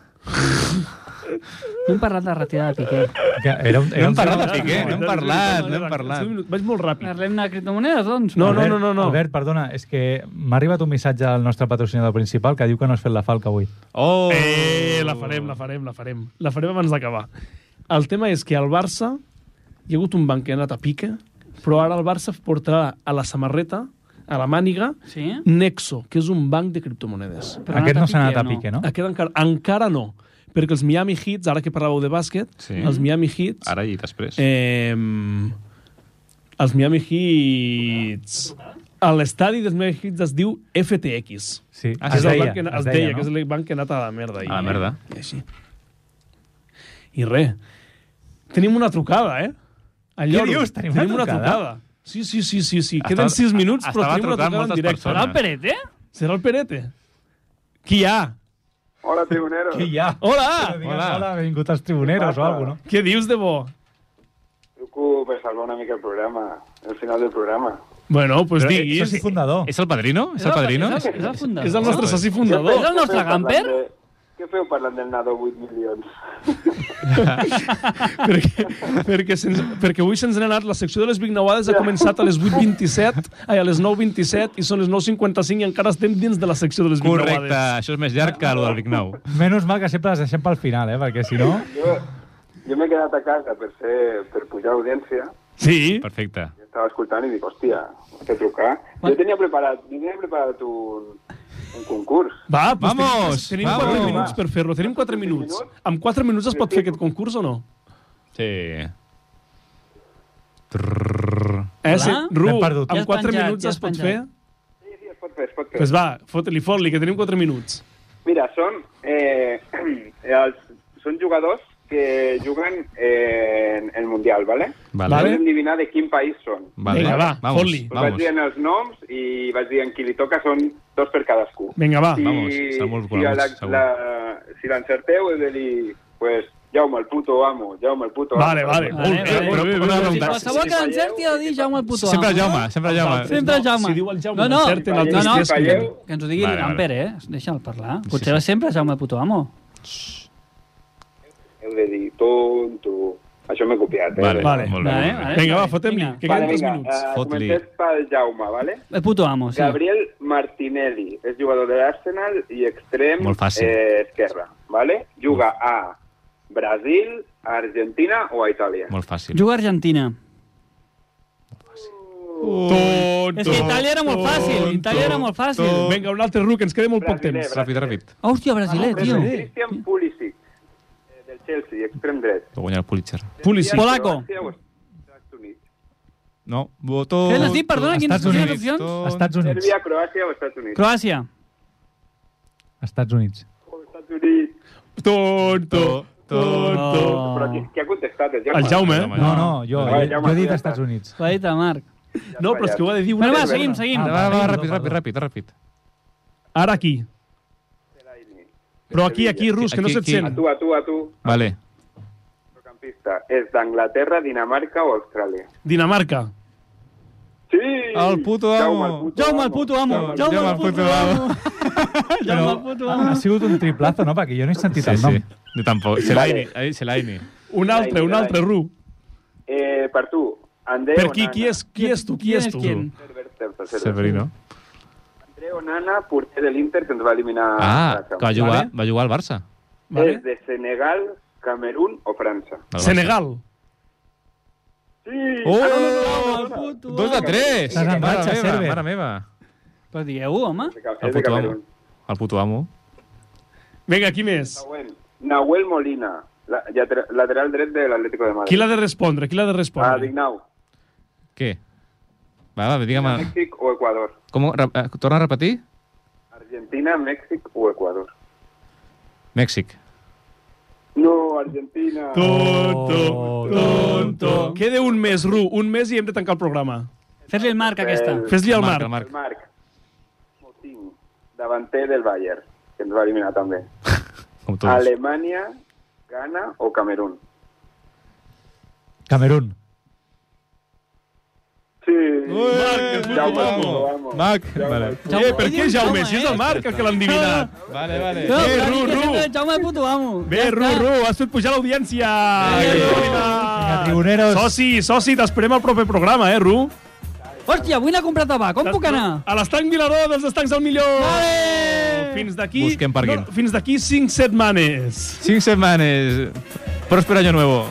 No hem parlat de retirada de Piqué.
Que era un, era un
No hem parlat de
tema-
Piqué, no hem parlat, no hem parlat.
Vaig molt ràpid.
Parlem de criptomonedes, doncs?
No, no,
Albert,
no, no, no.
Albert, perdona, és que m'ha arribat un missatge al nostre patrocinador principal que diu que no has fet la falca avui.
Oh!
Eh, la farem, la farem, la farem. La farem abans d'acabar. El tema és que al Barça hi ha hagut un banc que ha anat a pique, però ara el Barça portarà a la samarreta, a la màniga,
Sí?
Nexo, que és un banc de criptomonedes.
Però ha
Aquest no
anat a
s'ha anat a
Piqué,
pique, no?
Aquest encara, encara no, perquè els Miami Heats, ara que parlàveu de bàsquet,
Sí.
els Miami Heats...
Ara i després.
Eh, els Miami Heats... A l'estadi dels Miami Heats es diu FTX.
Sí,
Ah,
Que
es
és el
deia,
banc que, es, deia, que és el banc que ha anat a la merda. ahir.
A la merda.
I així. I res. Tenim una trucada, eh? Al
Què
lloro.
dius? Tenim una trucada?
Sí, sí, sí, sí. sí.
Estava-
Queden sis minuts, però
estava
tenim una
trucant
trucada en
moltes
directe.
persones.
Serà el Perete?
Serà el Perete? Qui hi ha?
Hola, tribuneros.
Qui hi ha?
Hola!
Digues,
Hola.
hola, benvingut als tribuneros o alguna cosa,
Què dius de bo?
Truco per salvar una mica el programa, el final del programa.
Bueno, pues
Però, eh,
diguis.
Soci
Oh.
fundador.
És el padrino? És el padrino?
És el, és el fundador.
És el nostre soci
És
fundador.
el nostre gamper?
Què feu parlant del nadó 8 milions?
perquè, perquè, se'ns, perquè avui se'ns n'ha anat. La secció de les Big Nauades ha començat a les 8.27, ai, a les 9.27, i són les 9.55 i encara estem dins de la secció de les Big
Correcte,
Nauades.
això és més llarg que el del Big Nou.
Menys mal que sempre les deixem pel final, eh? Perquè si no...
Jo, jo m'he quedat a casa per, ser, per pujar audiència,
Sí,
Perfecte.
estava escoltant i dic, hòstia, has de trucar. Jo tenia preparat, jo tenia preparat un, un concurs.
va, pues
Vamos,
tenim, tenim
vamos.
4 minuts per fer-lo. Tenim 4 minuts. Amb 4 minuts es pot fer aquest concurs o no?
Sí.
Eh, sí, Ru,
L'hem perdut.
amb
Ja has
4
penjat,
minuts
ja
es
has
pot
penjat.
fer?
Sí, sí, es pot fer, es pot fer.
Pues va, fot-li, fot-li, que tenim 4 minuts.
Mira, són, eh, els, són jugadors que juguen eh, en el Mundial, ¿vale?
Vale.
Vale.
Heu d'endevinar de quin país són.
Vale.
Vinga, va,
vamos,
fot-li.
Us vaig
Vamos.
dient els noms i vaig dient qui li toca, són dos per cadascú.
Vinga, va.
si,
vamos, estan molt
si, a la,
coneguts, segur.
la, si l'encerteu he de dir, pues, Jaume, el puto amo, Jaume, el puto amo.
Vale, vale.
Vale,
Molt bé,
vale.
però bé, bé,
Una
bé.
Si
ronda.
qualsevol que l'encerti ha de dir Jaume el puto amo.
Sempre Jaume, sempre Jaume.
Sempre
No,
Jaume.
si diu el Jaume,
no, no,
l'encerten
els
no, no,
tres que
que,
diu.
que ens ho digui
Vale,
vale,
vale.
l'Amper, eh? Deixa'l parlar.
sí.
Potser va sempre Jaume el puto amo.
Heu de dir, tonto. Això m'he copiat, eh?
Vale,
Vale.
molt bé.
Vale,
molt bé.
vale.
Vinga, va, fotem-li,
Vinga.
que
vale,
queden 3
vinga,
minuts.
eh,
Fot-li.
comencem pel Jaume, vale?
El puto amo, Eh, sí.
Gabriel Martinelli és jugador de l'Arsenal i extrem
Molt fàcil.
eh, esquerra, vale? Juga a Brasil, a Argentina o a Itàlia?
Molt fàcil.
Juga a Argentina.
Tonto.
És que Itàlia era molt fàcil, Itàlia era molt fàcil.
Vinga, un altre ruc, ens queda molt poc
Brasiler,
temps.
Ràpid, ràpid.
Hòstia, brasiler, tio.
Christian Pulisic, eh, del Chelsea, extrem dret.
Va guanyar el Pulitzer.
Pulisic.
Polaco.
Croàcia o Estats Units?
No, votó...
Què n'has dit? Perdona, quines
Estats
quines
Units.
opcions?
Estats Units.
Sèrbia, Croàcia o Estats Units?
Croàcia.
Estats Units.
Oh, Estats Units.
Tonto. Tonto.
Però qui, qui ha contestat? El Jaume.
El Jaume, eh?
No, no, jo,
Vale,
jo,
Jaume,
jo he dit
ja
Estats
està.
Units.
Ho ha dit el Marc.
No, però és que ho ha de dir una
Bueno, va,
persona.
seguim, seguim.
Ah,
Va, va,
Perdó,
ràpid,
perdó.
ràpid, ràpid, ràpid.
Ah, Ara aquí. Però aquí, aquí, Rus, que no
Aquí,
se't
aquí.
sent.
A tu, a tu, a tu.
Vale.
Campista. És d'Anglaterra, Dinamarca o Austràlia?
Dinamarca.
Sí!
El puto amo.
Jaume el puto amo. Jaume el
Pues
puto amo. Jaume el puto
Ha
ah,
amo.
sigut un triplazo, no? Perquè jo no he sentit
Sí,
el nom.
sí. Jo tampoc. Selaini. ha dit Selaini.
Un altre, un altre, Ru.
Eh, per tu, Andreu
Per qui?
Onana.
Qui és, qui és tu? Qui és tu?
Qui?
Cerver- Cerver- Cerver-
Severino.
Andreu Onana, porter de l'Inter, que ens va eliminar...
Ah,
la
que va
Champions.
jugar, va jugar al Barça.
Vale.
És de Senegal, Camerún o França?
Al Barça.
Senegal.
Sí! Ah,
Oh!
puto
Dos de tres!
Estàs en
Mare
ratxa,
meva,
Server.
Mare meva.
Però digueu-ho, home.
El
És de
puto amo.
Camerún.
El puto amo.
Vinga, qui més?
Següent. Nahuel Molina, la, llatera- lateral dret de l'Atlético de Madrid.
Qui l'ha de respondre? Qui l'ha de
Ah,
respondre?
Dignau.
Què? Va, va, digue'm...
Mèxic o Equador?
Com, ho- re- eh, torna a repetir?
Argentina, Mèxic o Equador?
Mèxic.
No, Argentina.
Oh,
Tonto, tonto.
Tonto.
Queda un mes, Ru, un mes i hem de tancar el programa.
Fes-li el Marc, aquesta.
Fes-li al
El Marc,
Marc.
el
El Marc. Motín, davanter del Bayern, que ens va eliminar també.
Com
Tots.
tots.
Alemanya, Ghana o Camerún?
Camerún.
Sí.
Marc, el puto
Jaume, el
amo.
puto amo.
Marc,
Jaume,
vale.
el puto
Eh,
amo.
per què Jaume? Si és el
Eh?
Marc el que l'ha endivinat.
Vale, vale.
No,
Eh,
però
Ru,
dic que
Ru.
sempre el Jaume el puto amo.
Bé, Ru, Ru, has fet pujar l'audiència.
Vinga, tribuneros.
Soci, soci, t'esperem al proper programa, eh, Ru?
Hòstia, vull anar a comprar tabac. Com puc anar?
A l'estanc Vilaró dels estancs del millor.
Vale!
Fins d'aquí...
Busquem parking.
No, fins d'aquí 5 setmanes.
Cinc setmanes. Pròspero año nuevo.